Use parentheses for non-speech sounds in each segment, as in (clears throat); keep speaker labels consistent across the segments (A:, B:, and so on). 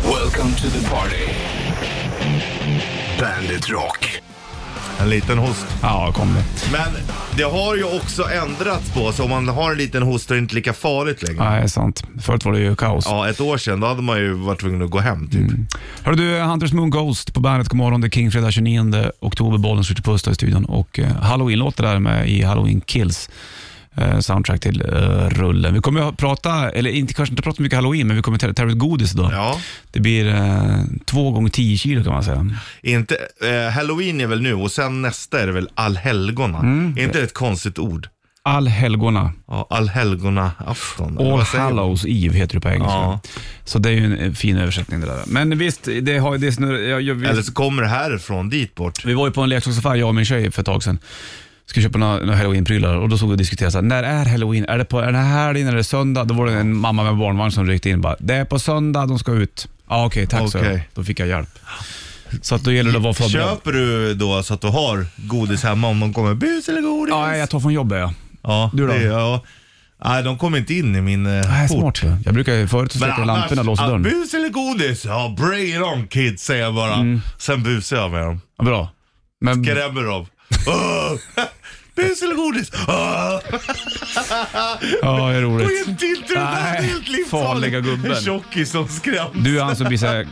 A: Welcome to the party. Bandit Rock.
B: En liten host.
C: Ja, kom det.
B: Men det har ju också ändrats på, så om man har en liten host är det inte lika farligt längre.
C: Nej, sant. Förut var det ju kaos.
B: Ja, ett år sedan då hade man ju varit tvungen att gå hem typ.
C: Mm. Hör du, Hunters Moon Ghost på bandet. God morgon. Det är Kingfredag 29 oktober. Bollen skjuter puss i studion. Och eh, Halloween-låter där med i Halloween Kills. Eh, soundtrack till eh, rullen. Vi kommer att prata, eller inte, kanske inte prata mycket halloween, men vi kommer att ta ut godis idag.
B: Ja,
C: Det blir eh, två gånger 10 kilo kan man säga.
B: inte, eh, halloween är väl nu och sen nästa är det väl allhelgona.
C: Mm.
B: Är inte det ett konstigt ord?
C: Allhelgona,
B: Ja, allhelgona-afton. eller
C: All
B: vad säger man?
C: Hallows Eve heter det på engelska.
B: Ja.
C: Så det är ju en eh, fin översättning det där. Men visst, det har det snurrar, jag, jag, vi-
B: Eller så kommer det härifrån dit bort.
C: Vi var ju på en leksaksaffär, jag och min tjej, för ett tag sedan. Skulle köpa några, några halloween-prylar och då såg vi och diskuterade så här, när är halloween? Är det på är det här eller är det söndag? Då var det en mamma med barnvagn som ryckte in och bara, det är på söndag de ska ut. Ja okej, tack så
B: Okej.
C: Då fick jag hjälp. Så att då gäller det att vara förberedd.
B: Köper du då så att du har godis hemma om de kommer? Bus eller godis?
C: Ja, jag tar från jobbet ja.
B: Ja,
C: Du då?
B: Det, ja. Nej, de kommer inte in i min eh,
C: Nej,
B: port.
C: smart. ju. Jag brukar ju förut
B: Men
C: släcka
B: annars,
C: lamporna och låsa
B: ah,
C: dörren.
B: bus eller godis? Ja, bring it on kids säger jag bara.
C: Mm.
B: Sen busar jag med dem.
C: Ja, bra. Men
B: Skrämmer dem. Åh, (laughs) bus eller godis? Åh,
C: ja, det är
B: Gå
C: roligt.
B: inte in till den där, det är
C: Nej,
B: helt
C: farliga
B: livsfarligt.
C: gubben.
B: En tjockis som skräms.
C: Du är han som blir så här,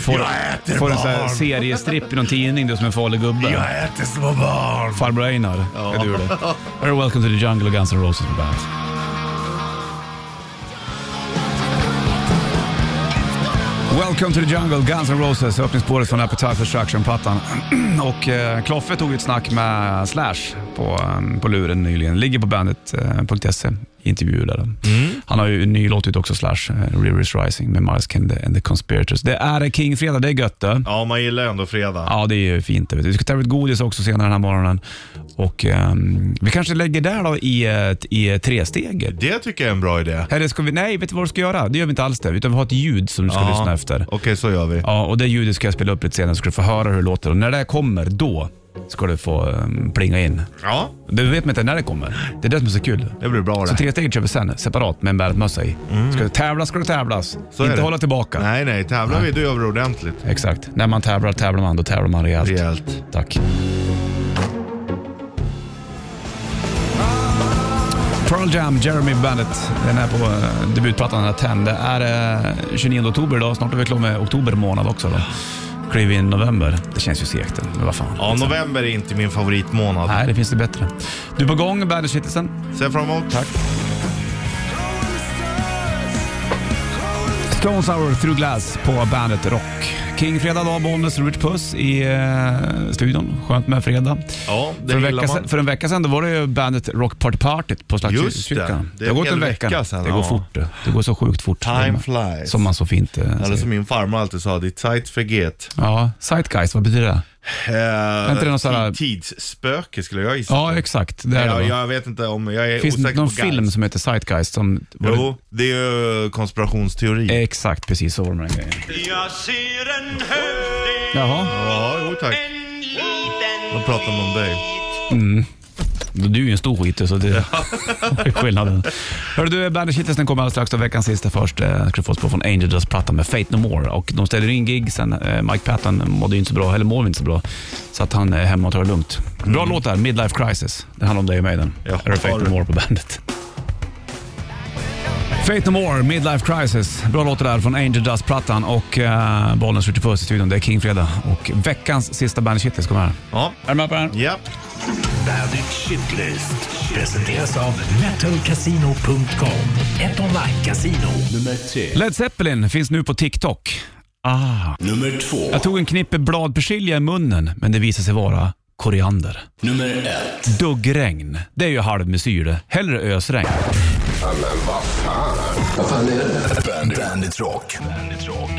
C: får,
B: Jag äter
C: får en så här
B: barn.
C: seriestripp i någon tidning du som en farlig gubbe.
B: Jag äter små barn.
C: Farbror Einar är du det. Very welcome to the jungle och Guns N' Roses på bandet. Welcome to the jungle, Guns N' Roses, öppningsspåret från Appetite for Destruction-plattan. (clears throat) och eh, Kloffe tog ett snack med Slash på, eh, på luren nyligen. Ligger på eh, bandet.se i intervjuer E. där. Han har ju en ny låt ut också, Slash, eh, Rivers Rising med Miles Kennedy and the Conspirators. Det är King-fredag, det är gött eh? det.
B: Ja, man gillar ändå fredag.
C: Ja, det är ju fint. det Vet du. Vi ska ta ut godis också senare den här morgonen. Och, ehm, vi kanske lägger där då i, eh, i tre steg.
B: Det tycker jag är en bra idé.
C: Eller ska vi, nej, vet du vad du ska göra? Det gör vi inte alls det. Utan vi har ett ljud som du ska
B: Ja.
C: lyssna efter.
B: Okej, så gör vi.
C: Ja, och det ljudet ska jag spela upp lite senare så ska du få höra hur det låter. Och när det här kommer, då ska du få ehm, plinga in.
B: Ja,
C: Du vet man inte när det kommer. Det är det som är så kul.
B: det blir bra
C: Så
B: det.
C: tre steg kör vi sen, separat med en bärmössa i. Ska du tävla ska du tävlas.
B: Mm. Så är
C: inte
B: det.
C: hålla tillbaka.
B: Nej, nej, tävlar vi då gör vi det ordentligt.
C: Exakt. När man tävlar, tävlar man. Då tävlar man rejält.
B: Rejält.
C: Tack. Pearl Jam, Jeremy Bennett. Den är på eh, debutplattan, den här 10. Det är eh, 29 oktober idag. Snart är vi klara med oktober månad också. Då. Kliver in november. Det känns ju segt, men vad fan.
B: Ja, november är inte min favoritmånad.
C: Nej, det finns det bättre. Du är på gång, Bandit Kittelsen.
B: Ser fram emot. Tack.
C: Stones Hour Through Glass på Bandet Rock. King fredag dag, Bollnäs, Robert Puss i eh, studion. Skönt med fredag.
B: Ja, det
C: För en,
B: gillar
C: vecka
B: man.
C: sen, för en vecka sedan då var det ju bandet Rock Party Partyt på
B: Just det.
C: Slagskyrkan.
B: Det är
C: har
B: en
C: gått en
B: hel
C: vecka,
B: vecka sedan,
C: Det går
B: ja.
C: fort det. Det går så sjukt fort.
B: Time flies.
C: Som man så fint eh,
B: Eller
C: säger.
B: som min farmor alltid sa, det är Zeit vergeht.
C: Ja, Zeitgeist, vad betyder det?
B: Eh,
C: inte det någon sån här-
B: ti- Tidsspöke skulle jag gissa.
C: Ja, exakt. Det är det,
B: jag,
C: va?
B: jag vet inte om, jag är
C: Finns det
B: osäker
C: inte någon
B: på guys.
C: film som heter Zeitgeist? Som, var
B: Jo, det är ju konspirationsteori.
C: det, exakt, precis så var det med den grejen.
D: Jag ser en hövding,
C: Jaha,
B: Ja, jo tack.
D: en liten
B: Jag pratar om dig.
C: du är ju en stor skit så det är skillnaden. Hörru du, Bandit Kittles den kommer alldeles strax. och Veckans sista först eh, ska du få spå från Angel Dust-plattan med Fate No More. Och de ställer in gig sen. Eh, Mike Patton mådde ju inte så bra, eller mår inte så bra. Så att han är hemma och tar det lugnt. Bra låt där, Midlife Crisis. Det handlar om dig och mig den.
B: Mm. Ja,
C: Här är Fate
B: har
C: No
B: du.
C: More på bandet. Fate No More, Midlife Crisis. Bra låt det där från Angel Dust-plattan och eh, Bollnäs skjuter puss i studion. Det är Kingfredag och veckans sista Bandit Kittles kommer här.
B: Ja,
C: Är du med på den?
B: ja.
A: Bandit Shitlist. Presenteras av metalcasino.com. Ett online-casino. Nummer tre.
C: Led Zeppelin finns nu på TikTok. Ah.
A: Nummer två.
C: Jag tog en knippe bladpersilja i munnen, men det visade sig vara koriander.
A: Nummer ett.
C: Duggregn, det är ju halvmesyr det. Hellre ösregn.
A: Bandit, Bandit Rock. Bandit Rock.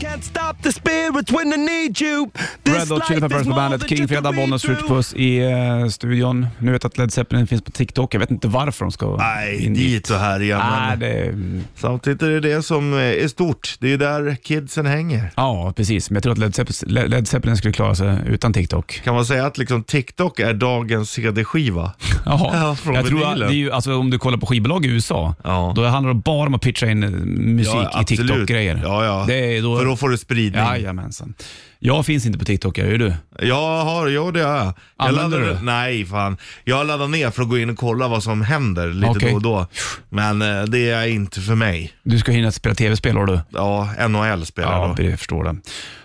E: Can't stop the spirit when I need you. This
C: Red Hot Chili
E: life
C: Peppers
E: is
C: på
E: more
C: bandet.
E: than
C: King
E: just a
C: Fredag, Bollnäs,
E: read-through.
C: Puss i eh, studion. Nu vet jag att Led Zeppelin finns på TikTok. Jag vet inte varför de ska
B: Nej,
C: in dit.
B: dit och här igen. men
C: Nej, Ah, det,
B: Samtidigt är det det som eh, är stort. Det är ju där kidsen hänger.
C: ja, precis. Men jag tror att Led Zeppelin, Led- Led Zeppelin skulle klara sig utan TikTok.
B: Kan man säga att liksom TikTok är dagens CD-skiva?
C: Jaha.
B: Ja, från
C: jag tror att det
B: vinylen.
C: är ju, alltså, om du kollar på skivbolag i USA,
B: Ja.
C: då handlar det bara om att pitcha in eh, musik
B: Ja,
C: i
B: absolut.
C: TikTok-grejer.
B: Ja, ja.
C: Det är då,
B: För att får du spridning.
F: Jajamensan. Jag finns inte på TikTok, gör ju du.
B: Jag har, jo det har jag. jag
F: Använder
B: laddar-
F: du det?
B: Nej fan. Jag laddar ner för att gå in och kolla vad som händer lite
F: Okej.
B: då och då. Men eh, det är inte för mig.
F: Du ska hinna spela tv-spel, har du.
B: Ja, NHL spelar
F: Ja,
B: då.
F: jag förstår det.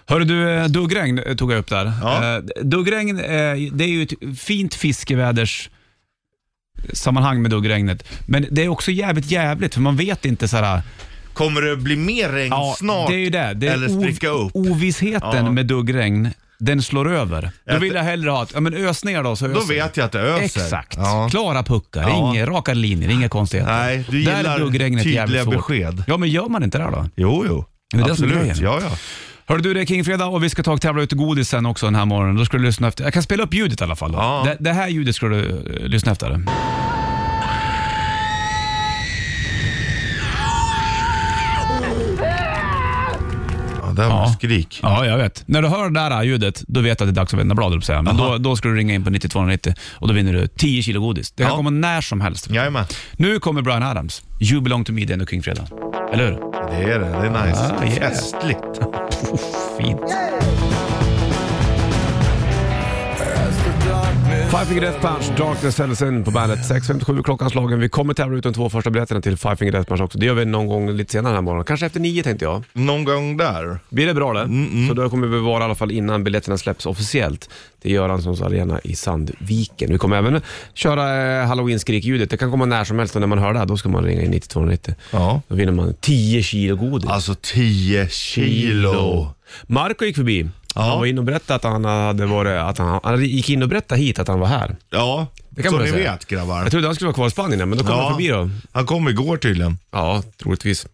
F: Hörru du, eh, duggregn eh, tog jag upp där.
B: Ja.
F: Eh, Duggregn, eh, det är ju ett fint fiskeväders sammanhang med duggregnet. Men det är också jävligt jävligt för man vet inte så här. ah,
B: Kommer det bli mer regn snart?
F: det är ju det. det är
B: eller spricka
F: ov-
B: upp?
F: Ovissheten
B: Ja.
F: med duggregn, den slår över. Då
B: Ett-
F: vill jag hellre ha att, ja men ös ner då så öser
B: Då vet jag att det öser.
F: Exakt.
B: Ja.
F: Klara puckar,
B: Ja.
F: inga raka linjer, inga konstigheter.
B: Nej, du
F: Där är
B: gillar
F: duggregnet
B: tydliga
F: jävligt svårt.
B: besked.
F: Ja, men gör man inte det då?
B: Jo, jo.
F: Det är det som är
B: Absolut.
F: grejen.
B: Ja, ja.
F: Hörru du, det är Kingfredag och vi ska ta och tävla ut godis sen också den här morgonen. Då ska du lyssna efter. Jag kan spela upp ljudet i alla fall. Då.
B: Ja.
F: Det, det här ljudet ska du eh, lyssna efter.
B: ja där var
F: Ja.
B: skrik.
F: Ja, jag vet. När du hör det där ljudet, då vet du att det är dags att vända blad, höll jag på att säga. Men
B: Jaha.
F: då, då ska du ringa in på 9290 och då vinner du 10 kilo godis. Det kan
B: Ja.
F: komma när som helst.
B: Jajamän.
F: Nu kommer Brian Adams. You belong to me, det är ändå Kingfredag. Eller hur?
B: Det är det. Det är nice.
F: Ah, yeah.
B: Festligt.
F: Puff, fint.
C: Five Finger Death Punch, Darkness Hellsen på bandet. 6.57 klockan slagen. Vi kommer tävla ut de två första biljetterna till Five Finger Death Punch också. Det gör vi någon gång lite senare den här morgonen. Kanske efter nio tänkte jag.
B: Någon gång där.
C: Blir det bra det? Så då kommer vi vara i alla fall innan biljetterna släpps officiellt till Göranssons arena i Sandviken. Vi kommer även köra eh, halloween-skrikljudet. Det kan komma när som helst och när man hör det här, då ska man ringa in 9290.
B: Ja.
C: Då vinner man 10 kilo godis.
B: Alltså 10 kilo.
C: Marco gick förbi. Han var inne och berättade att han hade varit, att han, han gick in och berättade hit att han var här.
B: Ja,
C: Det kan
B: så
C: man
B: ni
C: väl säga.
B: vet grabbar.
C: Jag trodde han skulle vara kvar i Spanien, men då kom han förbi då.
B: Han kom igår tydligen.
C: Ja, troligtvis.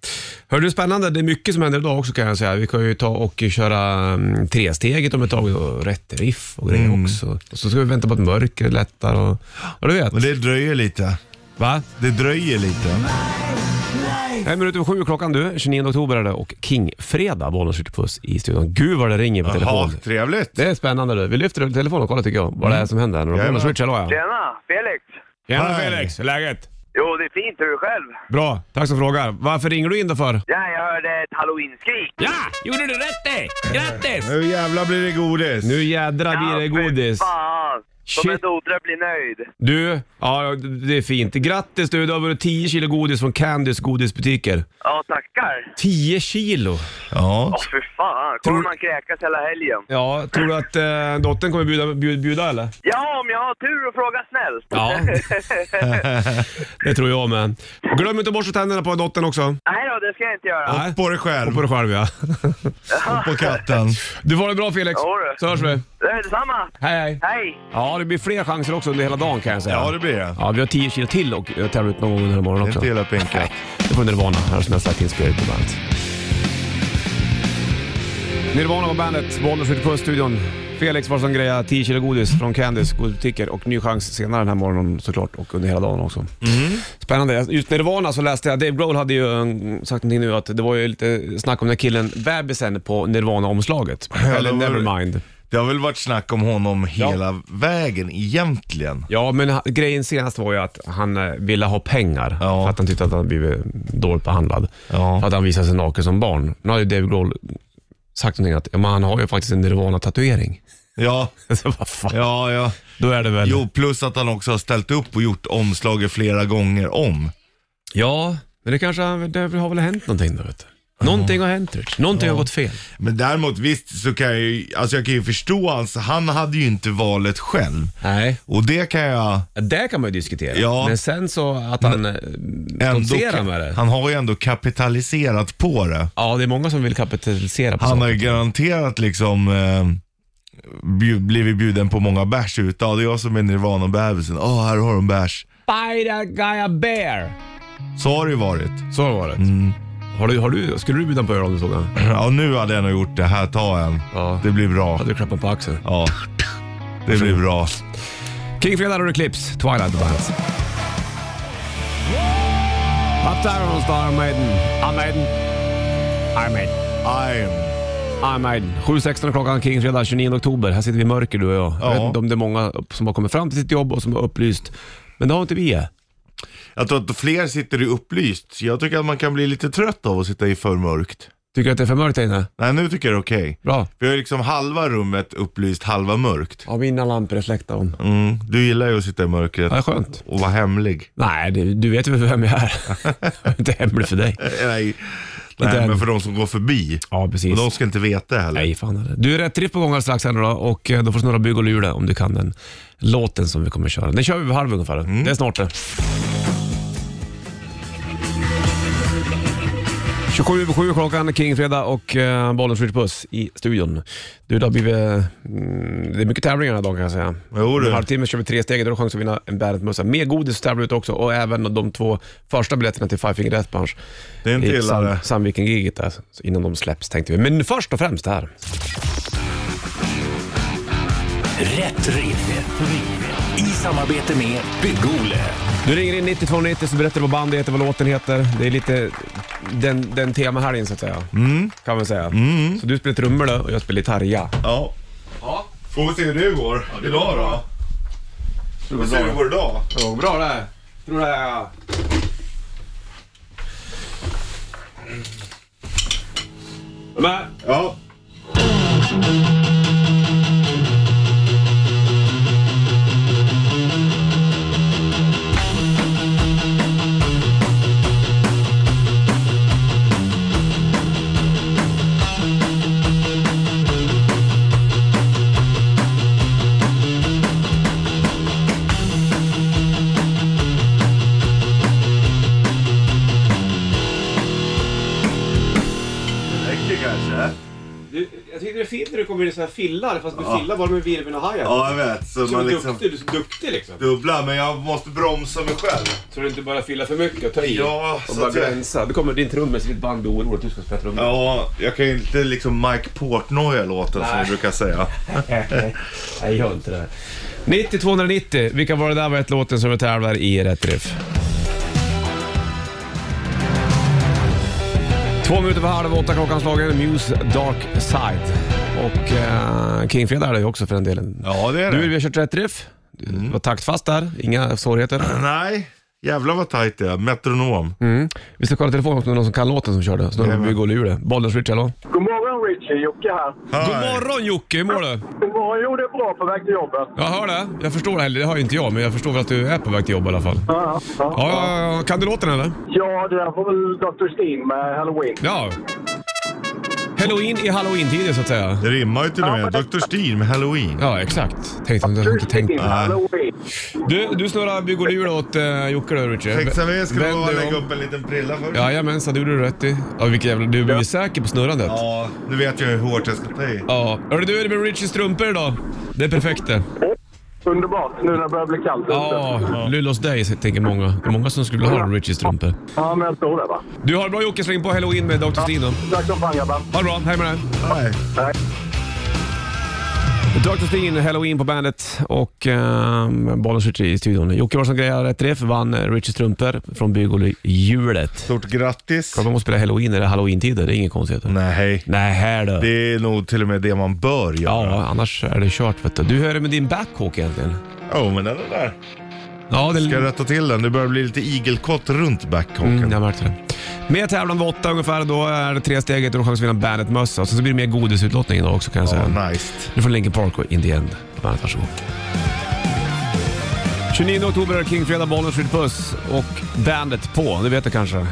C: Hör du, spännande. Det är mycket som händer idag också kan jag säga. Vi kan ju ta och köra mm, tresteget om ett tag och rätt riff och grejer
B: Mm.
C: också. Och så ska vi vänta på att mörkret lättar och... Ja, du vet.
B: Men det dröjer lite.
C: Va?
B: Det dröjer lite.
C: En minut över sju klockan du. 29 oktober är det och King-fredag. Bollnäs skjuter puss i studion. Gud vad det ringer på
B: Jaha,
C: telefon.
B: trevligt.
C: Det är spännande du. Vi lyfter upp telefonen och kollar tycker jag vad det är som händer. När de
B: Mm. Jajamän.
C: Bollnäs Ritch, hallå ja.
G: Tjena, Felix.
C: Tjena
B: Hej.
C: Felix, hur är läget?
G: Jo, det är fint. Hur är du själv?
C: Bra, tack som frågar. Varför ringer du in då för?
G: Ja, jag hörde ett halloween-skrik.
F: Ja, gjorde du rätt i! Grattis!
B: Nu jävlar blir det godis.
C: Nu jädrar
G: Ja,
C: blir det
G: fy
C: godis.
G: Fan. Som
C: Shit.
G: en dotra blir nöjd.
C: Du, ja det är fint. Grattis du, du har vunnit 10 kilo godis från Candys godisbutiker.
G: Ja, tackar.
C: 10 kilo?
B: Ja.
G: Åh, för fan. Kommer
C: Tror-
G: man kräkas hela helgen?
C: Ja, tror du att eh, dottern kommer bjuda, bjuda, bjuda eller?
G: Ja, om jag har tur och frågar snällt.
C: Ja. (laughs) Det tror jag med. Glöm inte att borsta tänderna på dottern också.
G: Nej då, det ska jag inte göra.
C: Nej.
B: Upp på dig
C: Och
B: själv.
C: på dig själv ja.
B: Upp på katten.
C: Du får ha det bra Felix,
G: Ja, du.
C: så hörs vi.
G: Det är detsamma.
C: Hej hej.
G: Hej.
C: Mm. Ja, det blir fler chanser också under hela dagen kan jag säga.
B: Ja, det blir det.
C: Ja, vi har 10 kilo till och eh, tävla ut någon gång under morgonen också.
B: Inte hela pinkat.
C: Det får Nirvana. Här har Smells Like Teen Spirit på bandet. Nirvana på bandet. Bollnäs skjuter på studion. Felix var som greja 10 kilo godis från Candys godisbutiker och ny chans senare den här morgonen såklart och under hela dagen också. Spännande. Just Nirvana så läste jag, Dave Grohl hade ju mm, sagt någonting nu att det var ju lite snack om den killen, bebisen på Nirvana-omslaget. Eller
B: det var-
C: Nevermind.
B: Det har väl varit snack om honom hela vägen egentligen.
C: Ja, men ha- grejen senast var ju att han eh, ville ha pengar
B: Ja.
C: för att han tyckte att han blivit dåligt behandlad.
B: Ja.
C: För att han visade sig naken som barn. Nu har ju Dave Grohl sagt någonting att ja, men han har ju faktiskt en Nirvana-tatuering. (laughs)
B: Ja,
C: Så vad fan.
B: ja, ja.
C: Då är det väl...
B: Jo, plus att han också har ställt upp och gjort omslaget flera gånger om.
C: Ja, men det kanske han- det har väl hänt någonting då vet du. Någonting har hänt Rich. Någonting har gått fel.
B: Men däremot visst så kan jag ju, alltså jag kan ju förstå hans, han hade ju inte valet själv.
C: Nej.
B: Och det kan jag
C: Det kan man ju diskutera.
B: Ja.
C: Men sen så att han eh,
B: ändå,
C: stoltserar med det.
B: han har ju ändå kapitaliserat på det.
C: Ja, det är många som vill kapitalisera på
B: Han
C: sånt.
B: har ju garanterat liksom eh, bju- blivit bjuden på många bärs ut. Ja, det är jag som är Nirvana-bebisen. Ja, här har de bärs.
C: Buy that guy a bear.
B: Så har det ju varit.
C: Så var det. Har du, har du, skulle du bjuda på öl om du såg honom?
B: Ja, nu hade jag nog gjort det. Här, ta en.
C: Ja.
B: Det blir bra.
C: Hade du klappat på axeln?
B: Ja. Det blir bra.
C: Kingfredag och Eclipse, Twilight på bandet. Up there on Star Maiden. I'm Maiden. I'm Maiden.
B: I'm...
C: I'm Maiden. 7.16 klockan Kingfredag 29 oktober. Här sitter vi i mörker du och jag. Jag
B: Ja.
C: vet inte om det är många som har kommit fram till sitt jobb och som har upplyst. Men det har inte vi än.
B: Jag tror att fler sitter i upplyst. Jag tycker att man kan bli lite trött av att sitta i för mörkt.
C: Tycker du att det är för mörkt här inne?
B: Nej, nu tycker jag det är okej.
C: Bra.
B: Vi har ju liksom halva rummet upplyst, halva mörkt.
C: Ja, mina lampor är släckta. om.
B: Mm. Du gillar ju att sitta i mörkret
C: Ja, det är skönt.
B: och vara hemlig.
C: Nej, du, du vet ju vem jag är. jag är inte hemlig för dig.
B: Eh, Nej, Nej
C: Den-
B: men för de som går förbi.
C: Ja,
B: Och
C: precis.
B: de ska inte veta heller.
C: Nej, fan heller. Du är rätt riff på gång alldeles strax här nu då och eh, då får snurra bygg och lura om du kan den låten som vi kommer att köra. Den kör vi vid halv ungefär.
B: Mm.
C: Det är snart det. 27 över 7 klockan, Kingfredag och eh, bollen skjuter puss i studion. Du, det har blivit... Mm, det är mycket tävlingar den här dagen kan jag säga.
B: Jo,
C: Om
B: du.
C: en halvtimme kör vi tre steg och då har du chans att vinna en Bandet-mössa. Med godis tävlar vi ut också och även de två första biljetterna till Five Finger Death Punch.
B: Det är eh, inte
C: I
B: illa
C: Sand,
B: det.
C: Sandviken-giget där, så innan de släpps tänkte vi. Men först och främst det här.
H: Rätt riff. I samarbete med Bygg-Ole.
C: Du ringer in 9290 så berättar du vad bandet heter, vad låten heter. Det är lite den, den temahelgen så att säga.
B: Mm.
C: Kan man säga. Så du spelar trummor då och jag spelar gitarr, ja.
B: Ja. Får vi se hur det går idag då. Får vi se hur det går idag.
C: Ja, bra det. Tror det är... Mm. Men,
B: Ja. Räcker kanske.
C: du, jag tyckte det var fint när du kom in i sådana här fillar fast du fillar bara med virveln och hajen.
B: Ja, jag vet. Så
C: Du är
B: man liksom
C: duktig, du är så duktig liksom.
B: dubblar, men jag måste bromsa mig själv.
C: Så du inte bara fillar för mycket och tar i.
B: Ja,
C: och
B: så
C: bara
B: att jag-
C: gränsa. Då kommer din trummis i ditt band bli orolig att du ska spela trummor.
B: Ja, jag kan ju inte liksom Mike Portnoy-låten som
C: Nej.
B: vi brukar säga.
C: (laughs) Nej, gör inte det. 90-290. Vilka var det där var ett låten som vi tävlar i Rätt Riff? Två minuter på halv åtta klockan slagen. Muse Dark Side. Och eh, Kingfredag är det ju också för den delen.
B: Ja, det är
C: Du, vi
B: det. Mm.
C: har kört Rätt Riff. Du var taktfast där. Inga svårigheter.
B: Nej, jävlar vad tajt det är. Metronom.
C: Vi ska kolla telefonen om det är någon som kan låten som körde. Snurrar vi går och lurar. Bollnäs Richard, hallå?
G: God morgon Richie, Jocke här.
C: God morgon Jocke, hur mår du?
G: God morgon, jo det är bra på väg till jobbet.
C: Jag hör det. Jag förstår det. Eller det hör ju inte jag, men jag förstår väl att du är på väg till jobb i alla fall.
G: Ja, ja.
C: Ja, ja, ja. Kan du låten eller?
G: ja det där får väl Dr. Steen med Halloween.
C: Ja. Halloween i halloween-tider så att säga.
B: Det rimmar ju till och med. Dr. Steen med Halloween.
C: Ja, exakt. Tänkte om du hade inte tänkt.
G: Halloween.
C: Du, du snurrar bygg och lur åt uh, Jocke då, Richard.
B: Fixar vi? Ska vi
C: Vänd
B: bara
C: dig
B: lägga
C: om.
B: upp en liten prilla först?
C: Jajamensan, det gjorde du rätt i. Ja, vilket jävla... Du blev ju säker på snurrandet. Ja.
B: Ja, nu vet jag hur hårt jag ska ta i.
C: Hörru du, är det med Richies strumpor idag? Det är perfekt det.
G: Underbart, nu när det börjar bli kallt ute.
C: Ja, lull oss dig, tänker många. Det är många som skulle ha Richies strumpor.
G: Ja, men jag tror det va.
C: Du, har det bra Jocke. Släng på halloween med Dr. Stino.
G: Tack som fan grabbar.
C: Ha det bra, hej med dig.
B: Nej.
C: Dr. Steen, Halloween på bandet och um, Bollens Ritchie i studion. Jocke var som grejade rätt träff, vann eh, Richie Strumpor från Bygghjulet.
B: Stort grattis.
C: Kolla, man måste spela Halloween när det är Halloween-tider, det är inget konstigt.
B: Nej,
C: Nej, här då.
B: Mm. det är nog till och med det man bör göra.
C: Ja, annars är det kört vet du. Du, hur är det med din backhawk egentligen?
B: Ja, men den är där.
C: Ja, det...
B: Ska jag rätta till den? Det börjar bli lite igelkott runt backhaken.
C: Mm, jag märkte det. Med tävlan vid åtta ungefär, då är det tre steget och du har chans att vinna Bandet-mössa. Sen så blir det mer godisutlottning idag också kan jag säga.
B: Ja, nice.
C: Nu får Linkin Park och In the End på bandet. Varsågod. 29 oktober är Kingfredag, Bollnäs skjuter puss och bandet på. Det vet du kanske.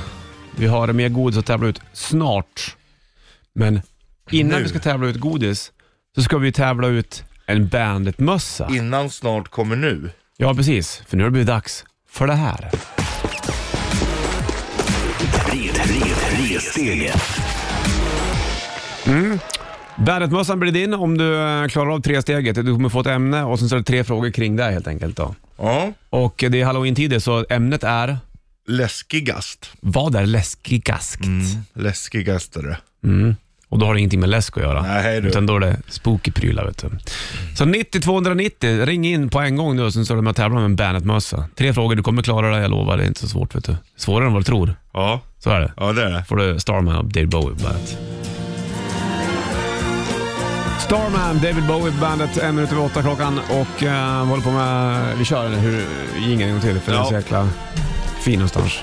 C: Vi har mer godis att tävla ut snart. Men innan
B: Nu.
C: vi ska tävla ut godis så ska vi tävla ut en Bandet-mössa.
B: Innan snart kommer nu.
C: Ja, precis. För nu har det blivit dags för det här.
H: Red, red, ressteget.
C: Bandet-mössan blir din om du eh, klarar av tre steget. Du kommer få ett ämne och sen så är det tre frågor kring det helt enkelt. Då.
B: Ja.
C: Och eh, det är halloween-tider så ämnet är
B: Läskigast.
C: Vad är läskigast?
B: Läskigast är det.
C: Och då har det ingenting med läsk att göra.
B: Nej, du.
C: Utan då är det spooky prylar vet du. Så 90 290, ring in på en gång nu och sen så är det med att tävla med en Bandet-mössa. Tre frågor, du kommer klara det, jag lovar. Det är inte så svårt vet du. Svårare än vad du tror.
B: Ja,
C: Så är det.
B: ja det är det.
C: får du Starman och David Bowie på bandet. Starman, David Bowie på bandet, en minut över åtta klockan och eh, vi håller på med, vi kör eller hur, ingen gång till för den är så jäkla fin någonstans.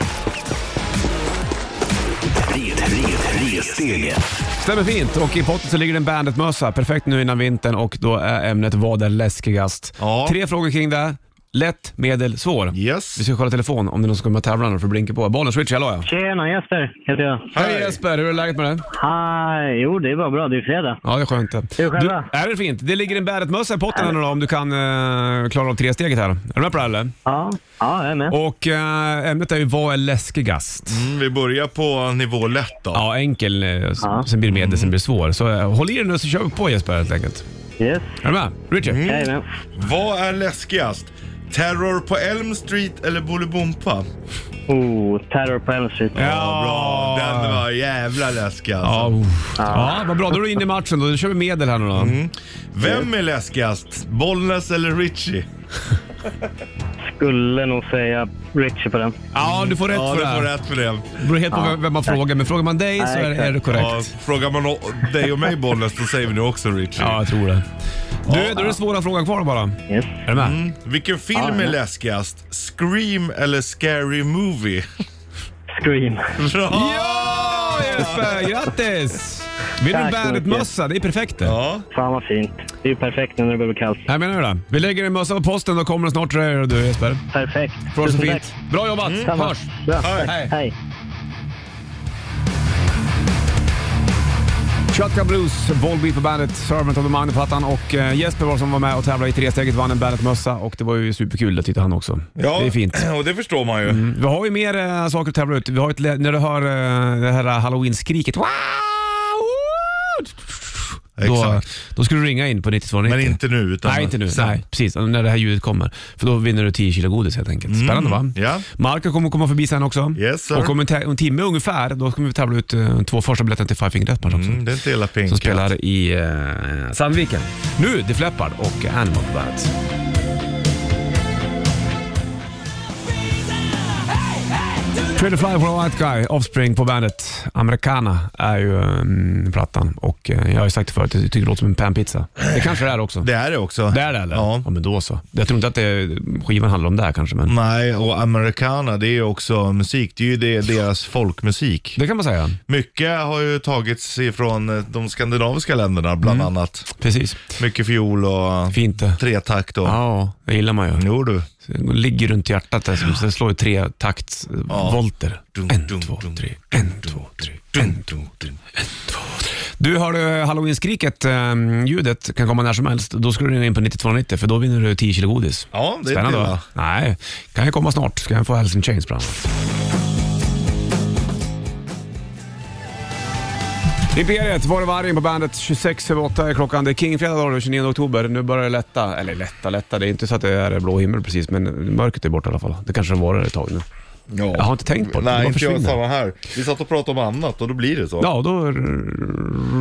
H: Red, red, P-steget.
C: Stämmer fint och i potten så ligger det en Bandit-mössa. Perfekt nu innan vintern och då är ämnet Vad är läskigast?
B: Ja.
C: Tre frågor kring det. Lätt, medel, svår.
B: Yes.
C: Vi ska kolla telefon om det är någon som kommer att tävla nu för att blinka på. Bollnäs Richie, hallå ja.
I: Tjena, Jesper heter jag.
C: Hej Jesper, hur är läget med dig?
I: Hej, jo det är bara bra. Det är fredag.
C: Ja, det är skönt.
I: Hur är själva?
C: Du, är det fint? Det ligger en Bandit-mössa i potten här nu då, om du kan eh, klara av tre steget här. Är du med på det här, eller?
I: Ja, ja jag är med.
C: Och eh, ämnet är ju Vad är läskigast?
B: Mm, vi börjar på nivå lätt då.
C: Ja, enkel. eh, s- Sen blir det
I: Mm.
C: medel, sen blir det svår. Så eh, håll i dig nu så kör vi på Jesper helt enkelt.
I: Yes,
C: Är du med? Richie?
I: jag är med.
B: Vad är läskigast? Terror på Elm Street eller Bolibompa?
I: Oh, terror på Elm Street.
B: Ja, bra. Den var jävla läskig alltså.
C: Ja, uff. ja, vad bra. Då är du inne i matchen. Då, då kör vi medel här nu då.
B: Mm. Vem är läskigast? Bollnäs eller Richie?
I: Skulle nog säga Richie på den.
C: Ja, du får rätt
B: Ja,
C: för
B: du
C: det
B: får
C: här.
B: rätt för det.
C: Det beror helt på vem- vem man frågar, men frågar man dig så
I: Nej,
C: är,
I: exakt.
C: är det
B: Ja,
C: korrekt.
B: frågar man o- dig och mig Bollnäs, då säger vi nu också Richie.
C: Ja, jag tror det. Du, då är det svåra frågan kvar bara.
I: Yes.
C: Är du med?
B: Mm. Vilken film är läskigast? Scream eller Scary Movie?
I: Scream.
B: Bra!
C: Ja, Jesper! Grattis! Vill du en
I: Tack så
C: Bandit-mössa? Det är perfekt det.
B: Ja.
I: Fan vad fint. Det är ju perfekt nu när det börjar bli kallt.
C: Jag menar du det? Vi lägger en mössa på posten, då kommer den snart till dig du Jesper.
I: Perfekt.
C: Bra så
I: Tusen
C: fint.
I: tack. Mm.
C: Bra jobbat!
I: Samma.
C: Hörs!
I: Bra.
B: Hej.
C: Hej.
I: Hej.
C: Shotgun Blues, Volbeat på bandet, Servant of the Mind på plattan och eh, Jesper var som var med och tävlade i tresteget vann en Bandet-mössa och det var ju superkul, det tyckte han också.
B: ja,
C: Det är fint.
B: Och det förstår man ju.
C: Vi har ju mer eh, saker att tävla ut. Vi har ett, lä- när du hör eh, det här halloween-skriket. Wow! Då,
B: Exakt.
C: då ska du ringa in på 9290.
B: Men inte nu. Utan
C: Nej, inte nu.
B: Sen.
C: Nej, precis. När det här ljudet kommer. För då vinner du 10 kilo godis helt enkelt. Spännande va?
B: Mm, Ja.
C: Marco kommer komma förbi sen också.
B: Yes, sir.
C: och om en, tä- om en timme ungefär, då kommer vi tävla ut eh, två första biljetterna till Five Finger Death Punch också.
B: Mm, det är inte hela pinkat.
C: Som spelar i eh, Sandviken. Nu, The Flappard och Animal på bandet. Pretty Fly for a White Guy, Offspring på bandet. Americana är ju um, plattan och eh, jag har ju sagt det förut, jag tycker det låter som en panpizza. Det kanske det är också.
B: Det är det också.
C: Det är det eller?
B: Ja. Mm.
C: men då så. Jag tror inte att det, skivan handlar om det här kanske, men
B: Nej, och americana det är ju också musik. Det är ju det, deras folkmusik.
C: det kan man säga.
B: Mycket har ju tagits ifrån eh, de skandinaviska länderna bland
C: Mm.
B: annat.
C: Precis.
B: Mycket fiol och
C: Fint det.
B: tretakt och...
C: Ja, det gillar man ju.
B: Jo du.
C: Det ligger runt hjärtat där, som- sen slår ju tre takts
B: Ja.
C: volter.
B: Dun,
C: En,
B: dun,
C: två,
B: dun,
C: tre. En, två, tre. En, två, tre. En, två, tre. Du, har du halloween-skriket, ehm, ljudet kan komma när som helst. Då ska du ringa in på 9290 för då vinner du 10 kilo godis.
B: Ja, det är
C: Spännande
B: inte
C: va? Nej, kan ju komma snart. Ska jag få Alice in Chains bland annat. Imperiet, var det vargen på bandet 26 över 8 är klockan. Det är Kingfredag idag, den 29 oktober. Nu börjar det lätta. Eller lätta, lätta. Det är inte så att det är blå himmel precis, men mörkret är borta i alla fall. Det kanske det var ett tag nu.
B: Ja.
C: Jag har inte tänkt på det.
B: Nej,
C: De
B: inte jag
C: försvinner.
B: samma här. Vi satt och pratade om annat och då blir det så.
C: Ja, då r-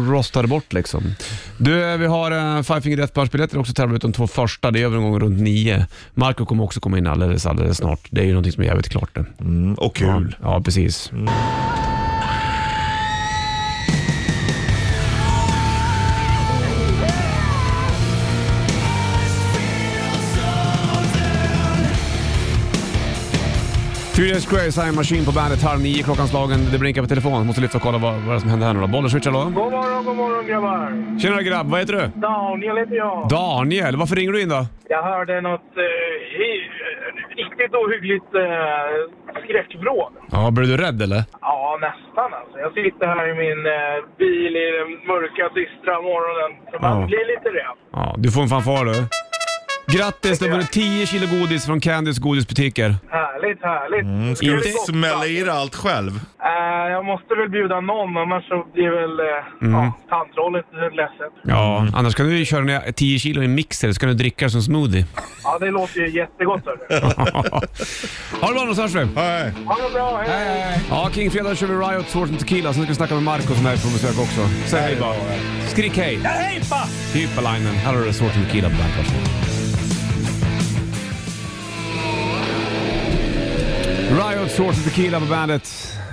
C: rostar det bort liksom. Du, vi har uh, Five Finger Death Punch-biljetter också tävlar ut de två första. Det är övergången runt nio. Marco kommer också komma in alldeles, alldeles snart. Det är ju någonting som är jävligt klart nu.
B: Mm, och kul.
C: Ja, precis. Furious Grace, Iron Machine på bandet, halv nio klockan slagen. Det blinkar på telefonen. Måste lyfta och kolla vad, vad det är som händer här nu då. Bollen switchar då.
G: God morgon, god morgon grabbar.
C: Tjena grabb, vad heter du?
G: Daniel heter jag.
C: Daniel, varför ringer du in då?
G: Jag hörde något eh, hy- eh, riktigt ohyggligt eh, skräckvrål.
C: Ja, blev du rädd eller?
G: Ja, nästan alltså. Jag sitter här i min eh, bil i den mörka, dystra morgonen. Så man
C: Ja.
G: blir lite rädd.
C: Ja, du får en fanfar du. Grattis, det var 10 kilo godis från Candys godisbutiker.
G: Härligt, härligt. Ska vi
B: Inte
G: gotta?
B: smälla i dig allt själv.
G: Eh, jag måste väl bjuda någon, annars så blir väl
C: Mm.
G: eh, ja, tantrollet ledset.
C: Ja, annars kan du ju köra ner 10 kilo i en mixer så kan du dricka det som smoothie.
G: Ja, det låter ju jättegott. hörru.
C: (laughs) ha det bra då, så hörs vi.
B: Nej.
G: Ha det bra, hej!
C: Ja, King Fredag kör vi Riot, Swords and Tequila. Sen ska vi snacka med Marco som är på besök också. Säg hej bara. Skrik hej! Ja, hej pa! Hyppalainen. Här har du Swords and Tequila på bandet. Varsågod. Riot, Swords and Tequila på bandet.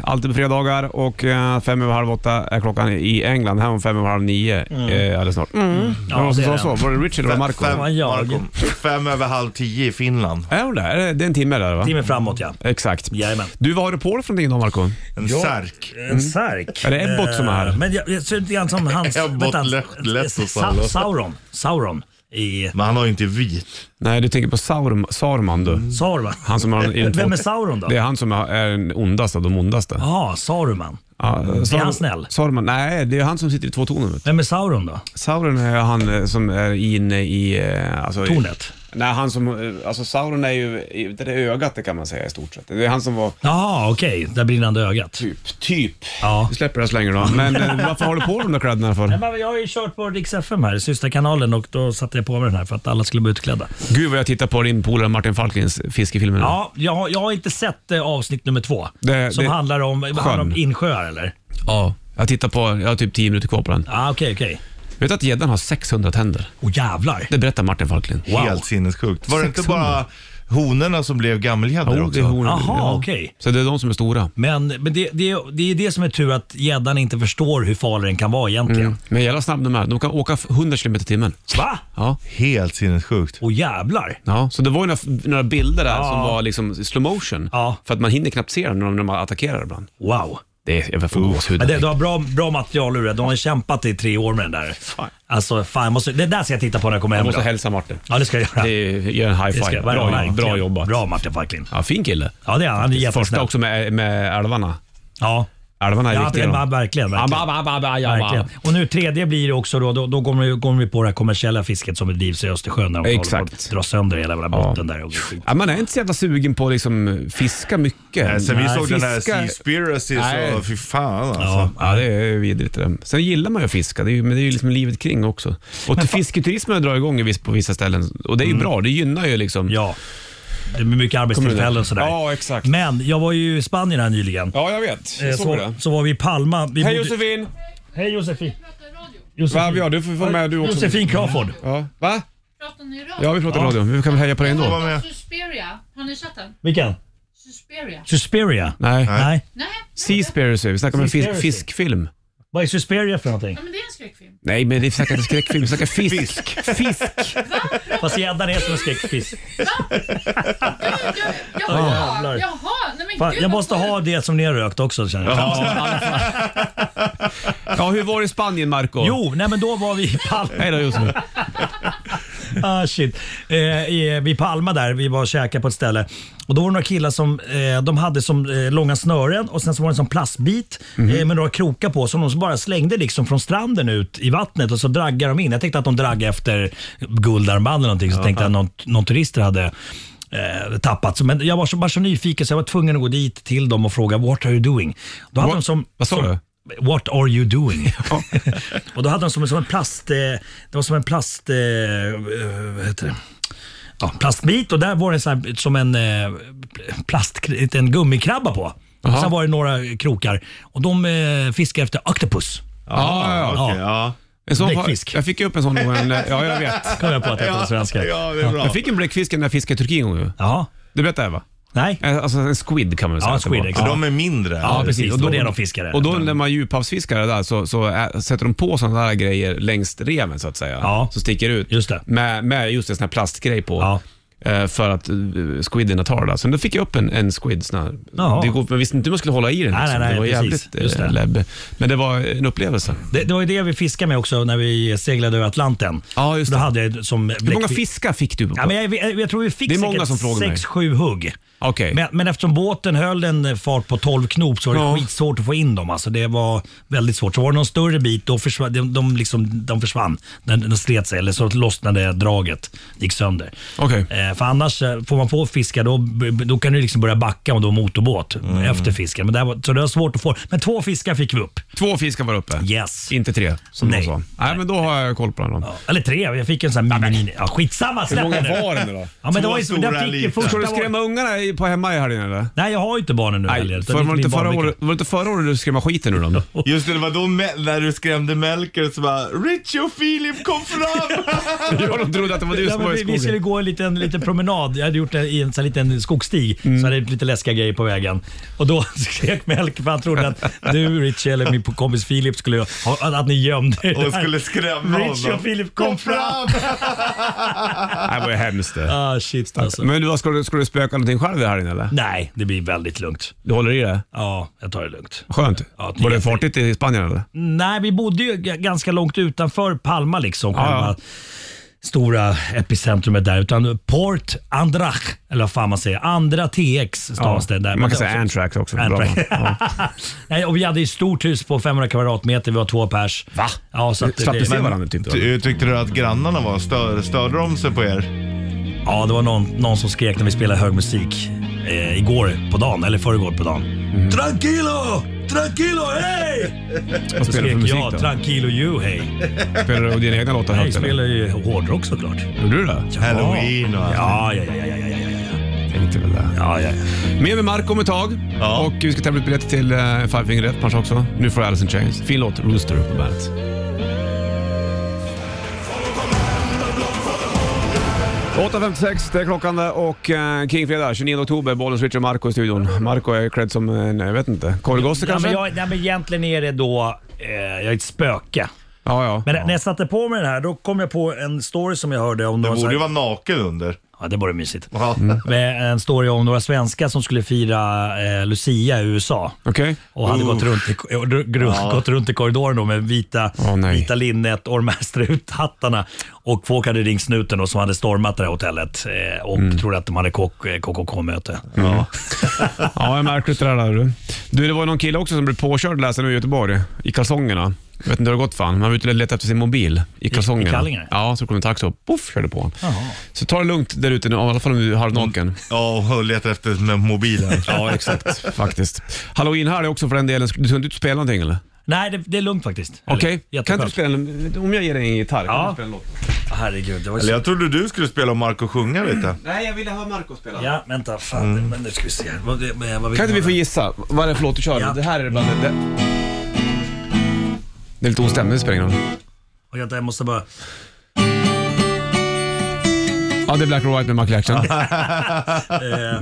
C: Alltid på fredagar och eh, fem över halv åtta är klockan i England. Här om fem över halv nio eh, alldeles snart. Ja,
A: Ja,
C: det
A: det är
C: var,
A: det.
C: så. var det Richard eller Marco?
A: Vad var jag?
B: Marco. fem över halv tio i Finland.
C: Är hon där? Är det- Det är en timme där va?
A: Timmen framåt ja.
C: Exakt.
A: Jajamän.
C: Du, vad har du på dig för någonting då Marco?
B: En
A: Ja.
B: särk.
A: En särk.
C: Mm. Är det Ebbot
A: Eh,
C: som är här?
A: Men jag, jag ser lite grann som hans...
B: Ebbot
A: vänta, hans-
B: lät- lät så
A: Sa-
B: sallad.
A: Sauron. Sauron i
B: Men han har ju inte vit.
C: Nej, du tänker på Saurum, Saruman du.
A: Saruman.
C: Han som har en,
A: Mm. Eh, Vem är Sauron då?
C: Det är han som är den ondaste av de ondaste.
A: Ja, Saruman.
C: Ja,
A: Är
C: Sauron-
A: han snäll?
C: Saruman, nej, det är han som sitter i två tornen. vet du.
A: Vem är Sauron då?
C: Sauron är han eh, som är inne i... eh, Alltså, i-
A: Tornet?
C: Nej, han som... eh, Alltså Sauron är ju i det där ögat det kan man säga i stort sett. Det är han som var
A: Ja, okej. Där brinnande ögat.
C: typ, typ.
A: Ja.
C: Vi släpper det här så länge då. Men eh,
A: (laughs)
C: varför har du på dig de där kläderna
A: Nej,
C: för?
A: men jag har ju kört på Rix FM här, systerkanalen, och då satte jag på mig den här för att alla skulle bli utklädda.
C: Gud vad jag tittar på din polare Martin Falklins fiskefilmer nu.
A: Ja, jag, har- jag har inte sett eh, avsnitt nummer två.
C: Det-
A: som
C: det-
A: handlar om, vad handlar om
C: sjön.
A: insjöar eller?
C: ja. Jag tittar på, jag har typ 10 minuter kvar på den.
A: Ja, okej, okej.
C: Vet du att gäddan har 600 tänder?
A: Åh jävlar.
C: Det berättar Martin Falklin.
A: Wow.
B: Helt sinnessjukt. Var det inte bara honorna som blev gammelgäddor
C: Jo,
B: också?
C: det är hornen.
A: Jaha,
C: Ja.
A: okej.
C: Så det är de som är stora.
A: Men, men det, det, det är det som är tur att gäddan inte förstår hur farlig den kan vara egentligen.
C: Men jävla snabb de är. De kan åka 100 km i timmen.
A: Va?
C: Ja.
B: Helt sinnessjukt.
A: Åh jävlar.
C: ja. Så det var ju några, några bilder där som var liksom i slow motion.
A: Ja.
C: För att man hinner knappt se dem när de, när de attackerar ibland.
A: Wow.
C: Det är, jag får
A: Men
C: gåshud.
A: det, det var bra, bra material ur det. De har kämpat i tre år med den där.
C: Fan.
A: Alltså, fan, jag måste, det där ska jag titta på när jag kommer hem.
C: Jag måste
A: då.
C: hälsa Martin.
A: Ja, det ska jag göra.
C: Det är, gör en high
A: Det ska
C: five.
A: jag göra,
C: Bra,
A: verkligen.
C: jobbat. bra jobbat.
A: Bra Martin Falklin.
C: Ja, fin kille.
A: Ja, det är han. Han är
C: Första
A: jättesnäll.
C: också med, med älvarna.
A: Ja.
C: Älvarna är
A: Ja,
C: riktiga.
A: men,
C: de.
A: verkligen.
C: Ja,
A: verkligen.
C: ba, ba, ba, ba, ja,
A: Verkligen.
C: ba.
A: Och nu tredje blir det också då, då, då kommer, vi, kommer vi på det här kommersiella fisket som bedrivs i Östersjön. Där de
C: Exakt.
A: håller på att dra sönder hela jävla botten där. Och
C: Ja, man är inte så jävla sugen på att liksom fiska mycket.
B: Nej, Eh, sen vi såg den här
C: fiska-
B: Seaspiracy
C: Nej.
B: så fy fan alltså.
A: Ja.
C: Ja, det är vidrigt det där. Sen gillar man ju att fiska, det är ju, men det är ju liksom livet kring också. Och till fisketurismen drar igång i viss- på vissa ställen och det är ju bra, det gynnar ju liksom...
A: Mm. Ja, det är mycket arbetstillfällen och sådär.
C: Ja, exakt.
A: Men jag var ju i Spanien här nyligen.
C: Ja, jag vet.
A: Eh,
C: Jag såg
A: så,
C: det.
A: så var vi i Palma. Vi
C: Hej
A: bodde-
C: Josefin!
A: Hej Josefin!
C: Va, ja, du får vara med du också.
A: Josefin Crawford.
C: Ja. Va?
J: Pratar ni i
C: Ja, vi pratar radio. Vi kan väl heja på dig
B: Var
C: ändå?
B: med.
J: Susperia? Har ni sett den?
A: Vilken?
J: Susperia?
A: Suspiria?
C: Nej.
A: Nej.
J: Nej,
C: Seaspiracy, vi snackar om en fis-
A: Seaspiracy.
C: fiskfilm.
A: Vad är Suspiria för någonting?
J: men det är en skräckfilm.
C: Nej, men det är säkert en skräckfilm. Vi snackar fisk. Fisk.
A: Fast gäddan är som en skräckfisk.
J: Jag, jag, jag,
A: jävlar.
J: jaha, jaha, nej men
A: Fan,
J: gud
A: Jag
J: vad
A: måste
J: kul.
A: ha det som ni har rökt också känner jag.
C: Ja, hur var det i Spanien, Marco?
A: Jo, nej men då var vi i Palma.
C: Hej då Josefin.
A: (laughs) Ah, shit. Eh, i, vid Palma där, vi var och käkade på ett ställe. Och då var det några killar som eh, de hade som eh, långa snören och sen så var det en sån plastbit eh, med några krokar på som de så bara slängde liksom från stranden ut i vattnet och så draggade de in. Jag tänkte att de dragg efter guldarmband eller någonting så tänkte jag att någon, någon turister hade eh, tappat. Så, Men jag var så, bara så nyfiken så jag var tvungen att gå dit till dem och fråga “What are you doing?” Då hade
C: What-
A: de som,
C: vad sa
A: som,
C: du?
A: What are you
C: (laughs)
A: doing? (laughs) och då hade de som, som en plast... Eh, det var som en plast... Eh, eh, vad heter det? Ja, plastbit och där var det så här, som en eh, plast, inte en gummikrabba på. Och sen var det några krokar och de eh, fiskade efter octopus.
C: Ja, ja, ja.
B: Okej, ja.
C: En sån
A: Bläckfisk.
C: Jag fick ju upp en sån gång. Ja, jag vet.
A: Kom jag på att det
C: (laughs)
A: heter på svenska.
B: Ja, det är bra.
C: Jag fick en bläckfisk när jag fiskade i Turkiet en gång. ju.
A: Ja.
C: Det berättade jag va?
A: Nej.
C: Eh, Alltså en squid kan man väl
A: Ja,
C: säga.
A: en
C: att det
A: squid,
C: var.
A: exakt.
B: För de är mindre.
A: Ja,
B: eller?
A: precis. Och då är det de fiskar.
C: Och då när man är djuphavsfiskare där så, så ä, sätter de på sådana där grejer längs reven så att säga.
A: Ja.
C: Som sticker ut.
A: Just det.
C: Med, med just en sån här plastgrej på.
A: Ja.
C: Eh, För att uh, squidderna tar det. där. Så då fick jag upp en, en squid. Sån här.
A: Jaha.
C: Det går, men visste inte hur man skulle hålla i den.
A: Nej,
C: liksom.
A: nej, nej,
C: det var
A: precis.
C: jävligt eh,
A: Just det.
C: läbb. Men det var en upplevelse.
A: Det, det var ju det vi fiskade med också när vi seglade över Atlanten.
C: Ja, just
A: Då
C: det.
A: hade jag som
C: Hur många
A: bläckfisk-
C: fiskar fick du? På?
A: Ja, men jag, jag, jag tror vi fick
C: Det är många
A: säkert
C: som frågar mig.
A: 6-7 hugg.
C: Okej.
A: Men, men eftersom båten höll en fart på 12 knop så var det
C: Ja.
A: skitsvårt att få in dem. Alltså det var väldigt svårt. Så var det någon större bit, då försvann, de, de, liksom, de försvann. Den, den slet sig, eller så lossnade draget. Det gick sönder.
C: Okej.
A: Eh, för annars, eh, får man på fiskar då, b- b- då kan du liksom börja backa om du har motorbåt
C: Mm.
A: efter fisken. Men det här var, så det var svårt att få. Men två fiskar fick vi upp.
C: Två fiskar var uppe.
A: Yes.
C: Inte tre, som
A: Nej.
C: de sa. Nej, men då har jag koll på den.
A: Ja, Eller tre, jag fick en sån här mini-mini. Ja, skitsamma, släpp
C: Hur många
A: den nu.
C: var det nu då?
A: Ja, men det var ju,
B: Två stora
A: den fick ju
B: liter.
A: första
C: Ska du
A: var-
C: skrämma ungarna i ni på hemma i helgen eller?
A: Nej, jag har ju inte barnen nu heller,
C: Nej,
A: utan
C: för
A: det är
C: var, det inte
A: min
C: förra
A: barnvecka.
C: året, var det inte förra året du skrämde skiten
A: (laughs)
C: ur dem?
B: Just det, det var då Mel- när du skrämde Melker så bara Richie och Filip kom fram!
C: (laughs) ja, de trodde att det var du
A: Ja,
C: som var
A: men vi, vi
C: i skogen.
A: skulle gå en liten, liten promenad. Jag hade gjort en, i en sån här liten skogsstig.
C: Mm.
A: Så hade det lite läskiga grejer på vägen. Och då (laughs) skrek Melker för han trodde att du, Richie eller min kompis Filip skulle ha, att ni gömde er
B: och
A: där.
B: skulle skrämma
A: Richie och
B: honom.
A: Filip kom fram.
C: Nej, det var ju hemskt det.
A: Ah, shit alltså.
C: Men du, vad, ska, du, ska du spöka någonting själv i helgen eller?
A: Nej, det blir väldigt lugnt.
C: Du håller i det?
A: Ja, jag tar det lugnt.
C: Skönt.
A: Ja,
C: var det
A: jätte-
C: fartigt i Spanien eller?
A: Nej, vi bodde ju g- ganska långt utanför Palma liksom.
C: ja.
A: Själva stora epicentrumet där. Utan Port Andrach, eller vad fan man säger. Andra TX stavas det där.
C: Man kan
A: Men-
C: säga Antrax också. Bra.
A: Antrax. (laughs)
C: Ja.
A: Nej, och vi hade ju stort hus på 500 kvadratmeter, vi var två pers. Va? Ja, så att
C: Slapp ni
A: det,
C: se
A: men-
C: varandra typ? då?
B: Ty- Tyckte du att grannarna var stör, störde de sig på er?
A: ja, det var någon, någon som skrek när vi spelade hög musik eh, igår på dagen, eller förrgår på dagen. Tranquilo! Tranquilo, hej!
C: Vad
A: Så
C: Mm. spelar du
A: skrek
C: för musik
A: jag
C: då?
A: tranquilo you, hej.
C: Spelar du dina egna låtar
A: Jag
C: högt eller?
A: spelar ju hårdrock såklart.
C: Gjorde du det?
B: Halloween och allt.
A: Ja, ja, ja, ja, ja, ja, ja, ja.
C: Tänkte väl det.
A: ja, ja.
C: Med mig Marco om ett tag. Och vi ska tävla ut biljetter till uh, Five Finger Death Punch också. Nu får Alice in Chains. Fin låt, Rooster på bandet. det är klockan där och uh, Kingfredag 29 oktober, Bollens Richard och Marco i studion. Marco är cred som en, jag vet inte, korvgosse
A: ja
C: kanske?
A: men jag, nej, men egentligen är det då, eh, jag är ett spöke.
C: Ja, ja.
A: Men när jag satte på mig den här, då kom jag på en story som jag hörde om
B: Du
A: någon... så
B: borde
A: här-
B: ju vara naken under.
A: Ja, det vore mysigt.
B: Ja.
A: med en story om några svenskar som skulle fira eh, Lucia i USA.
C: Okej.
A: Och hade gått runt, i, och dr- gru- (laughs) gått runt i korridoren då med vita,
C: Åh, nej.
A: vita linnet och de här struthattarna. Och folk hade ringt snuten då, som hade stormat det här hotellet eh, och
C: Mm.
A: trodde att de hade kock- eh, KKK-möte. Ja.
C: Ja, det är märkligt det där. där, Du. du, det var någon kille också som blev påkörd läser nu i Göteborg, i kalsongerna. Jag vet inte hur det har gått för han. Han var ute och letade efter sin mobil i kalsongerna.
A: kallingar?
C: Ja, så kom en taxi och poff körde på honom. Så ta det lugnt där ute nu, i alla fall om du är
A: Mm.
C: halvnaken.
B: Ja, och letar efter med mobilen.
C: Ja, exakt. Faktiskt. Halloween här är också för den delen. Du ska inte ut och spela någonting eller?
A: Nej, det, det är lugnt faktiskt. Eller,
C: Okej, kan inte du
A: jätteskönt.
C: spela en, Om jag ger dig en gitarr, kan
A: Ja.
C: du spela en låt?
A: Herregud, det var ju
B: Eller
A: så...
B: jag trodde du skulle spela och Marco sjunga lite.
C: Nej, jag ville ha Marco spela.
A: Ja, vänta. Fan, men nu ska vi se. Vad, det- vad, vad vill
C: Mm. Kan inte vi
A: jag
C: få
A: höra?
C: gissa vad det är för låt du kör?
A: Ja.
C: Det här är bland det... Det är lite ostämt, men det spelar ingen roll.
A: Och vänta, jag måste bara...
C: Ja, det är Black or White med Michael Jackson.
A: Eh,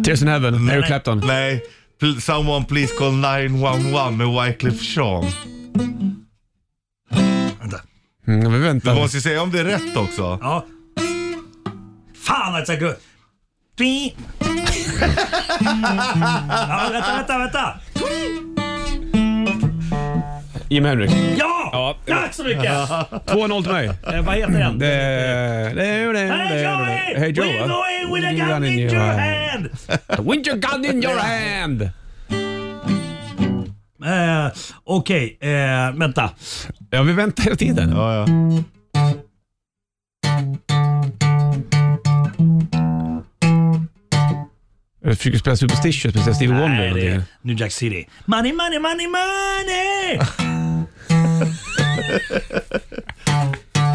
A: (laughs)
C: Tears in Heaven, Eric Clapton.
B: Nej, pl- Someone Please Call 911 med Wyclef Jean.
A: vänta.
C: Mm, vi väntar.
B: Du måste ju säga om det är rätt också.
A: Ja. Fan alltså gud. Bi- ja, vänta, vänta, vänta.
C: Jim Henrik.
A: Ja!
C: Ja.
A: Tack så mycket!
C: 2-0 till mig.
A: Eh, vad heter den?
C: Det är... Det är... Det
A: Hey
C: är...
A: Joey!
C: Hey Joe!
A: We're
C: va?
A: going with a gun in your hand!
C: With your gun in your hand!
A: Eh, Okej, eh, vänta.
C: Ja, vi väntar hela tiden.
B: Ja, ja.
C: Jag försöker spela Superstitious, precis Steve Wonder eller
A: Nej, det är
C: någonting.
A: New Jack City. Money, money, money,
C: (laughs)
A: money!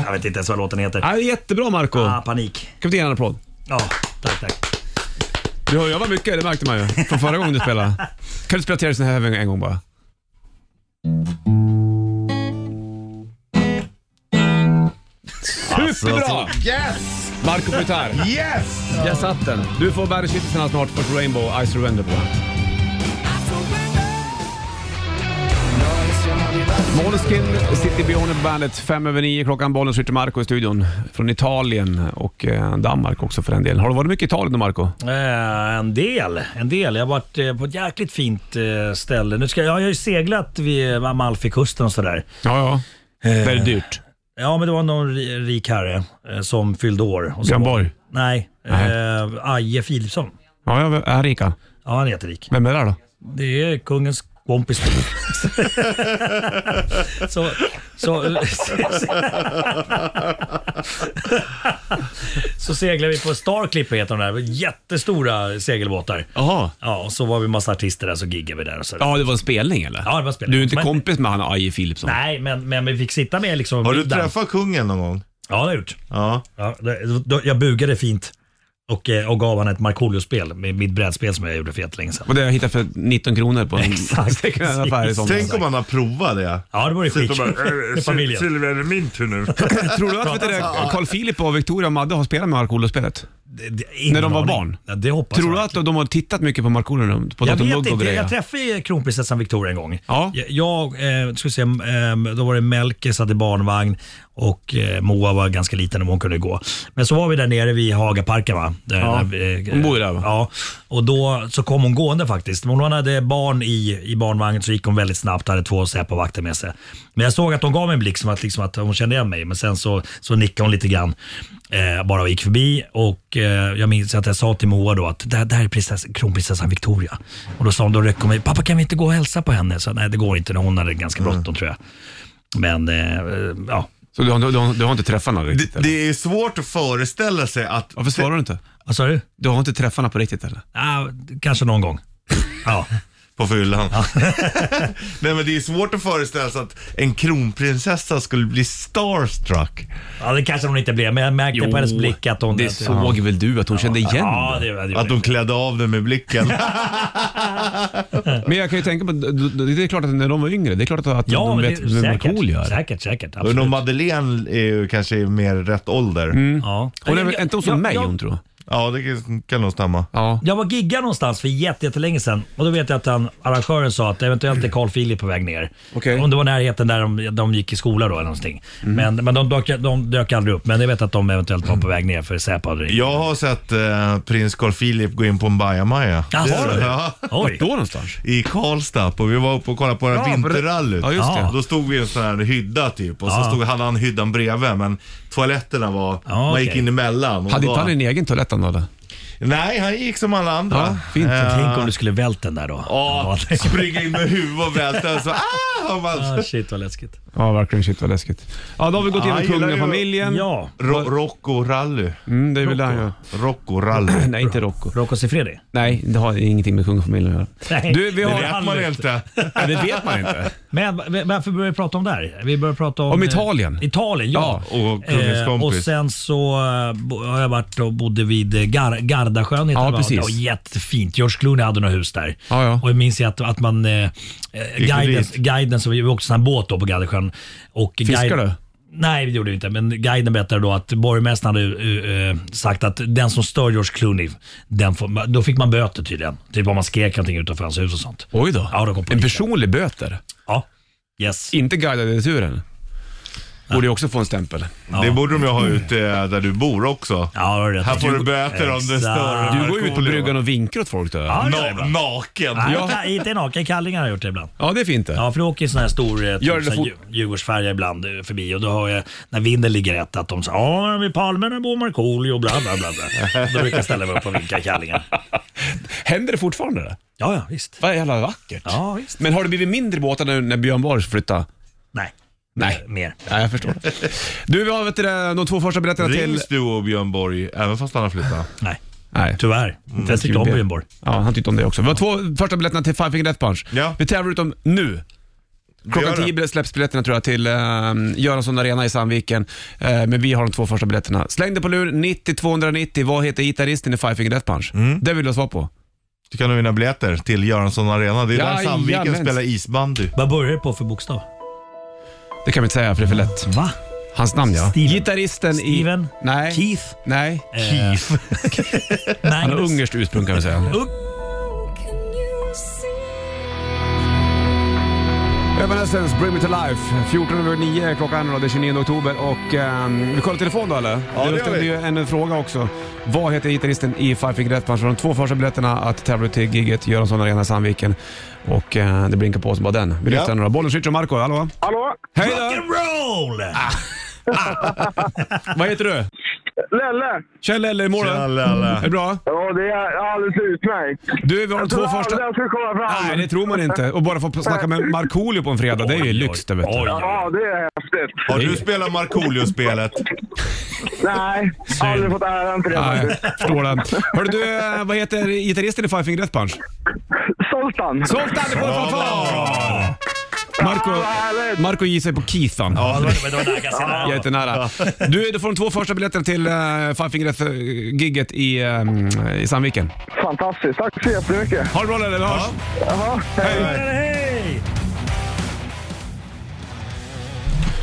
A: Jag vet inte ens vad låten heter.
C: Ja, det är jättebra Marco
A: Ah,
C: Kan
A: panik.
C: vi inte ge en applåd?
A: Ja, tack, tack.
C: Du har övat mycket, det märkte man ju. Från förra gången du spelade. Kan du spela Tears in Heaven en gång bara? Superbra!
B: Alltså, Yes!
C: Marco på gitarr.
B: Yes!
C: Jag satt den. Du får bandyshittelsen snart för Rainbow I Surrender på Måneskin, City Beyond på bandet. Fem över nio klockan. Bollen skjuter Marco i studion. Från Italien och eh, Danmark också för den delen. Har du varit mycket i Italien då Marco?
A: Eh, en del, en del. Jag har varit eh, på ett jäkligt fint eh, ställe. Nu ska, jag jag har ju seglat vid eh, Amalfikusten och sådär.
C: Ja, ja. Väldigt dyrt.
A: Ja, men det var någon ri- rik herre eh, som fyllde år. Och så
C: Björn
A: var-
C: Borg?
A: Nej,
C: Nej.
A: eh, Aje Philipsson.
C: Ja, jag är rika.
A: Ja, han är jätterik.
C: Vem är det då?
A: Det är kungens kompis. (laughs) så, så, (laughs) så seglade vi på Star Clipper heter de där. Jättestora segelbåtar.
C: Jaha.
A: Ja, och så var vi massa artister där så giggade vi där och så.
C: Ja, det var en spelning eller?
A: Ja, det var en spelning.
C: Du är inte
A: Men-
C: kompis med han Aje Philipsson?
A: Nej, men, men vi fick sitta med liksom
B: Har du
A: middagen.
B: träffat kungen någon gång?
A: Ja, det har jag gjort.
B: Ja.
A: Ja, det, då- jag bugade fint. och, eh, och gav han ett Markoolio-spel, med mitt brädspel som jag gjorde för jättelänge
B: (laughs)
A: sedan.
C: Och det har jag hittat för 19 kronor på en (laughs)
A: Exakt, (laughs)
C: second hand-affär i
A: precis.
C: somras.
B: Tänk om man har provat det.
A: Ja, det vore skit.
B: Sitter och bara,
A: Det är
B: "Eh, Sil-
A: familjen."
B: Silvia, är det min tur nu?
C: Tror du att vet du, det, Carl Philip och Victoria och Madde har spelat med Markoolio-spelet?
A: Det- det- ingen
C: När de var
A: aning.
C: barn?
A: Ja, det hoppas
C: Tror du
A: jag.
C: att de har tittat mycket på Markoolio? På
A: Jag
C: Dr.
A: vet
C: Mugg och
A: inte.
C: grejer?
A: Jag träffade ju kronprinsessan Victoria en gång.
C: Ja.
A: Jag, jag eh, skulle säga, eh, då var det Melkes hade barnvagn och eh, Moa var ganska liten om hon kunde gå. Men så var vi där nere vid Hagaparken va? Där,
C: Ja,
A: vi, eh,
C: hon bor ju där, va?
A: Ja, och då så kom hon gående faktiskt. Men hon hade barn i, i barnvagnen så gick hon väldigt snabbt hade två Säpo-vakter med sig. Men jag såg att hon gav mig en blick som att, liksom att hon kände igen mig, men sen så, så nickade hon lite grann. Eh, bara och gick förbi och eh, jag minns att jag sa till Moa då att det här, det här är prinsess, kronprinsessan Victoria. Och då sa hon, då räckte hon mig, pappa kan vi inte gå och hälsa på henne? Så nej det går inte, hon hade ganska bråttom
C: Mm.
A: tror jag. Men eh, eh, ja,
C: Så du har, du, har, du har inte träffat någon riktigt?
B: Det,
C: eller?
B: det är svårt att föreställa sig att...
C: Varför svarar du inte?
A: vad sa du?
C: Du har inte träffat någon på riktigt eller?
A: Ah, kanske någon gång. (laughs) Ja.
B: På fyllan. (laughs) Nej men det är svårt att föreställa sig att en kronprinsessa skulle bli starstruck.
A: ja, det kanske hon inte blev, men jag märkte på hennes blick att hon...
C: Det
A: att,
C: såg väl du att hon kände igen
A: Ja,
C: dig?
A: det, det,
B: Att de klädde av den med blicken.
C: Men jag kan ju tänka på, det är klart att när de var yngre, det är klart att
A: ja,
C: de
A: men
C: vet
A: det,
C: vem
A: säkert,
C: Markoolio är.
A: säkert. Säkert,
B: Undrar
A: absolut. Mm.
B: om Madeleine är ju kanske i mer rätt ålder.
A: Ja.
C: Hon är väl inte hon som
A: jag,
C: mig
A: jag,
C: hon tror jag.
B: Ja, det kan- kan nog stämma.
C: Ja.
A: Jag var gigga någonstans för jätte- jättelänge sedan och då vet jag att han, arrangören sa att eventuellt är Carl Philip på väg ner.
C: Okej. Mm.
A: Om det var närheten där de, de gick i skola då eller någonting. Men, men de, dök, de dök aldrig upp. Men jag vet att de eventuellt var på väg ner för Säpo hade ringt.
B: Jag har sett eh, prins Carl Philip gå in på en bajamaja.
A: Ja, har du?
B: Ja,
A: Oj.
C: Då någonstans?
B: I Karlstad. Och vi var uppe och kollade på det här
C: Ja, för det-
B: vinterrallyt.
C: Ja, just det.
A: Ja.
B: Då stod vi i en sån här hydda typ och
A: Ja.
B: så stod, hade han hyddan bredvid men toaletterna var,
A: Ja,
B: man
A: okej.
B: gick in emellan. och
C: Hade
B: då-
C: inte han en egen toalett han hade?
B: Nej, han gick som alla andra.
C: Ja, fint.
A: Tänk om du skulle vält den där då.
B: Ja, springa in med huvudet och välta så ah! har man-
A: Ah, shit vad läskigt.
C: Ja, verkligen. Shit vad läskigt. Ja, då har vi gått igenom
B: Ja, jag gillar ju-
C: kungafamiljen.
A: Ja,
B: Ro- Rocco rally.
C: Mm, det är väl det han gör.
B: Rocco rally.
C: (clears throat) Nej, inte Rocco.
A: Rocco Siffredi.
C: Nej, det har ingenting med kungafamiljen att göra.
A: Nej,
C: Du, vi
A: det
C: har...
A: vet
B: Vet man
A: Helvete.
B: inte.
C: Ja, det vet man inte.
A: (laughs) Men v- varför börjar vi prata om där? Vi börjar prata om...
C: Om
A: eh,
C: Italien.
A: Italien, ja.
B: Ja, och kungens
A: Eh, och
B: kompis.
A: sen så eh, bo- har jag varit och bodde vid eh, Gar Gardasjön. heter
C: Ja,
A: det, va?
C: precis.
A: Det var jättefint. George Clooney hade något hus där.
C: Ja, ja.
A: Och jag minns ju att, att man... Eh, eh, guiden,
B: dit?
A: guiden som vi åkte sån här båt då på Gardasjön. Och
C: Fiskar du?
A: Nej, det gjorde vi inte. Men guiden berättade då att borgmästaren hade eh, eh, sagt att den som stör George Clooney, den får, då fick man böter tydligen. Typ om man skrek någonting utanför hans hus och sånt.
C: Oj då.
A: Ja, då kom
C: en
A: polisen.
C: personlig böter.
A: Ja. Yes.
C: Inte guidade turen. Borde ju också få en stämpel.
B: Det borde de ju ha ute eh, där du bor också.
A: Ja, det var rätt.
B: Här får du böter om det
A: Exakt.
B: stör.
C: Du går ju ut på bryggan och vinkar åt folk. Då.
A: Ja, det gör jag
B: Na-
A: ibland.
B: naken.
A: Nej, inte- inte naken. Kallingar har jag gjort det ibland.
C: Ja, det är fint det.
A: Ja, för då åker en sån här stor eh,
C: Gör det
A: typ, sån
C: fort.
A: Djur- Djurgårdsfärja ibland eh, förbi och då har jag, när vinden ligger rätt, att de säger ja, vid Palmerna bor Markoolio och bla bla bla. bla. då brukar jag ställa mig upp och vinka kallingar.
C: Händer det fortfarande? Det?
A: Ja, ja, visst.
C: Vad jävla vackert.
A: Ja, visst.
C: Men har det blivit mindre båtar nu när Björn Borg flyttade?
A: Nej. Eh,
C: Nej.
A: Mer.
C: Nej, jag förstår. Du, vi har vet du, det, de två första berättarna till...
B: Rings du och Björn Borg även fast han har flyttat?
A: Nej.
C: Nej.
A: Tyvärr.
C: Mm,
A: Jag tyckte om Björn Borg.
C: Ja, han tyckte om det också. Vi har två första biljetterna till Five Finger Death Punch.
B: Ja.
C: Vi tävlar ut dem nu. Klockan
B: Gör det.
C: 10 bil- släpps biljetterna tror jag till eh, Göransson Arena i Sandviken. Eh, men vi har de två första biljetterna. Släng det på lur, 90 290. Vad heter gitarristen i Five Finger Death Punch? Det vill jag svar på.
B: Du kan nog vinna biljetter till Göransson Arena. Det är där Sandviken
C: Jajamens.
B: spelar isbandy.
A: Vad börjar det på för bokstav?
C: Det kan vi inte säga för det är för lätt.
A: Va?
C: Hans namn ja.
A: Steven.
C: Gitarristen i...
A: Steven?
C: Nej.
A: Keith?
C: Nej.
A: Keith?
C: Han
A: (laughs)
C: har
A: Magnus?
C: ungerskt ursprung kan vi säga.
A: Ung-
C: Evanescence, Bring Me To Life. 14 över 9 är klockan då, det är 29 oktober. Och ehm, vi kollar telefon då eller?
B: Ja, det
C: du
B: gör
C: ställde
B: vi.
C: ju en fråga också. Vad heter gitarristen i Five Finger Death Punch? De två första biljetterna att tävla ut till giget Göransson Arena i Sandviken. Och eh, det blinkar på oss bara den. Vi
B: Ja.
C: lyfter den då. Bollen och Marco, hallå?
G: Hallå?
C: Hej då!
A: Rock'n'roll!
C: Vad heter du?
G: Lelle?
C: Kjell eller i mål?
B: Tja,
C: Är
B: Lelle.
C: det bra?
G: Ja, det är alldeles utmärkt.
C: Du, vi har de två första...
G: Jag skulle komma fram.
C: Nej, det tror man inte. Och bara få snacka med Markoolio på en fredag, det är ju lyx det vet
A: Oj,
C: du.
A: oj, oj.
G: Ja, det är häftigt.
B: Har du spelat Markoolio-spelet?
G: Nej, aldrig fått äran för det
C: Nej,
G: faktiskt.
C: förstår det. Hörru du, eh, vad heter gitarristen i Five Finger Death Punch?
G: Zoltan.
C: Zoltan, du får en fanfar!
F: Marco, Marco gissar på Keithan.
A: Ja, det var, det var ganska nära.
F: Jättenära. Du, du får de två första biljetterna till uh, Five Finger Death-giget i, ehm, i Sandviken.
G: Fantastiskt. Tack så jättemycket.
F: Ha det bra Lelle, vi hörs!
G: Jaha, hej.
A: Hej!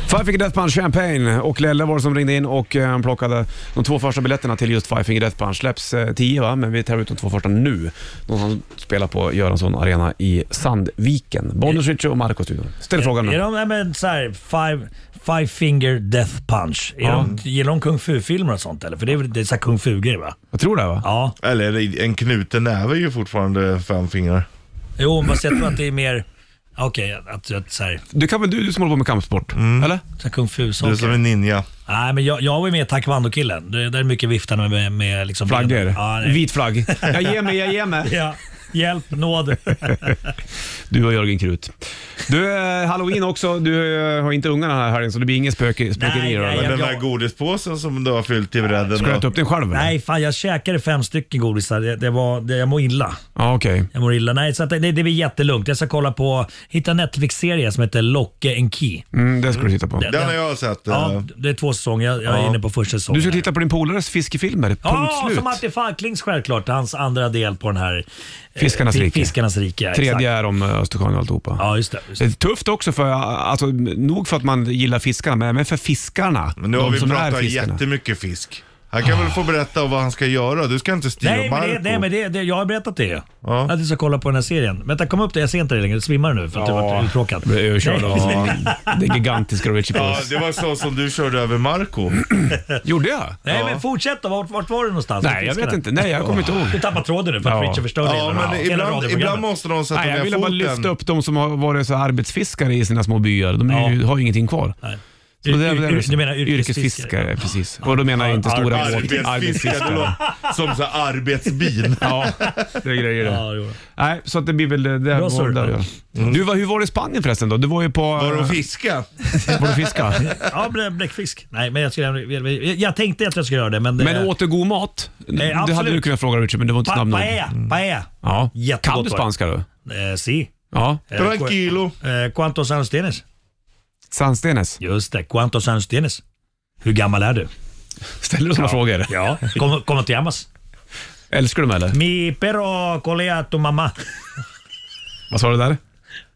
C: Five Finger Death Punch Champagne och Lelle var det som ringde in och eh, plockade de två första biljetterna till just Five Finger Death Punch. Släpps eh, 10 va, men vi tar ut de två första nu. De som spelar på Göransson Arena i Sandviken. Bonus Richie och Marco i studion. Ställ frågan
A: Är
B: Mm.
C: nu.
A: de, nej men så här, five, five Finger Death Punch. Är de, gillar de kung fu-filmer och sånt eller? För det är väl det är så här kung fu-grejer va?
C: Jag tror det va?
A: Ja.
B: Eller en knuten näve är ju fortfarande fem fingrar.
A: Jo, men jag tror att det är mer... Okej, att, att så här,
C: Du kan väl du, du som håller på med kampsport? Eller?
A: så här kung
B: Du är
A: fu-saker.
B: som en ninja.
A: Nej, men jag, jag var ju med taekwondo-killen. Det, där är mycket viftande med, med liksom
C: Flaggor?
A: benen. Ja, nej.
C: Vit flagg. Jag ger mig, jag
A: (laughs)
C: ger mig.
A: ja. Hjälp, nåd.
C: Du och Jörgen Krut. Du, eh, halloween också. Du eh, har inte ungarna här helgen så det blir inget spöke,
A: Nej,
C: spökerier.
A: nej,
C: eller?
A: jag-
B: Den där godispåsen som du har fyllt till bredden.
C: Ska du äta upp den själv? eller?
A: Nej, fan jag käkade fem stycken godisar. Det, det var, det, jag mår illa.
C: Ja, okej.
A: Jag mår illa. Nej, så att det, det blir jättelugnt. Jag ska kolla på, hitta en Netflix-serie som heter Locke en Key.
C: Mm, det ska du titta på.
B: Den har jag sett. eh,
A: Ja, det är två säsonger. Jag, jag är inne på första säsongen.
C: Du ska titta på din polares fiskefilmer, punkt
A: Ja,
C: slut.
A: som Martin Falklings självklart. Hans andra del på den här... eh,
C: Fiskarnas
A: fi-
C: rike.
A: Fiskarnas rike, ja,
C: Tredje
A: Exakt.
C: är om eh, Östersjön och alltihopa.
A: Ja, just det. Just
C: Det
A: det.
C: är tufft också, för, alltså, nog för att man gillar fiskarna, men även för fiskarna.
B: Men nu har
C: de
B: vi
C: som är
B: pratat
C: fiskarna.
B: jättemycket fisk. Han kan väl få berätta om vad han ska göra. Du ska inte styra
A: Nej, men,
B: Marco.
A: det, nej, men det, det, jag har berättat det ju.
B: Ja.
A: Att du ska kolla på den här serien. Vänta, kom upp det. Jag ser inte dig längre. Du svimmar nu för att du varit uttråkad.
C: Blir överkörd
A: Nej.
C: av det gigantiska Richie
B: Ja,
C: Puss.
B: det var så som du körde över Marco.
C: Gjorde jag?
A: (laughs) Nej, men fortsätt då. Vart, vart var du någonstans?
C: Nej, jag vet inte. Nej, jag kommer inte ihåg.
A: Du tappar tråden nu för att
C: Ja.
A: Richard förstörde
B: Ja,
A: hela-
B: men
A: hela
B: ibland,
A: radioprogrammet.
B: ibland måste någon sätta
C: Nej, jag
B: ner
C: ville bara lyfta
B: foten.
C: upp de som har varit så här arbetsfiskare i sina små byar. De är ju, har ju ingenting kvar.
A: Nej.
C: Så det är väl
A: Yr- yr- du menar
C: yrkesfiskare? Precis. Och då menar jag inte stora båt-
B: Arbetsfiskare, det
C: arbetsfiskare.
B: låter som så här arbetsbin.
C: Ja, det är grejer det.
A: Ja, det gjorde
C: Nej, så att det blir väl det. det
A: Bra Mm.
C: var
A: surr.
C: där jag. Du, vad- hur var det i Spanien förresten då? Du var ju på...
B: Var de fiska?
C: var du fiska?
A: Ja, blä- bläckfisk. Nej, men jag, skulle, jag, jag tänkte att jag skulle göra (laughs) det, men... eh,
C: Men åt du god mat? det hade
A: absolut.
C: du kunnat fråga Richard, men du var inte
A: pa,
C: snabb nog.
A: paella, paella.
C: Ja.
A: Jättegott
C: Kan du
A: var det.
C: spanska då?
A: Eh, si.
C: Ja.
A: Eh,
B: Tranquilo.
A: cu- Eh, ¿Cuántos años tienes?
C: Sandstenes.
A: Just det, ¿cuántos años tienes? Hur gammal är du?
C: Ställer du sådana frågor?
A: Ja. Mm. ¿Cómo, cómo te llamas?
C: Älskar du dem eller?
A: Mi perro colea tu mamma.
C: Vad sa du där?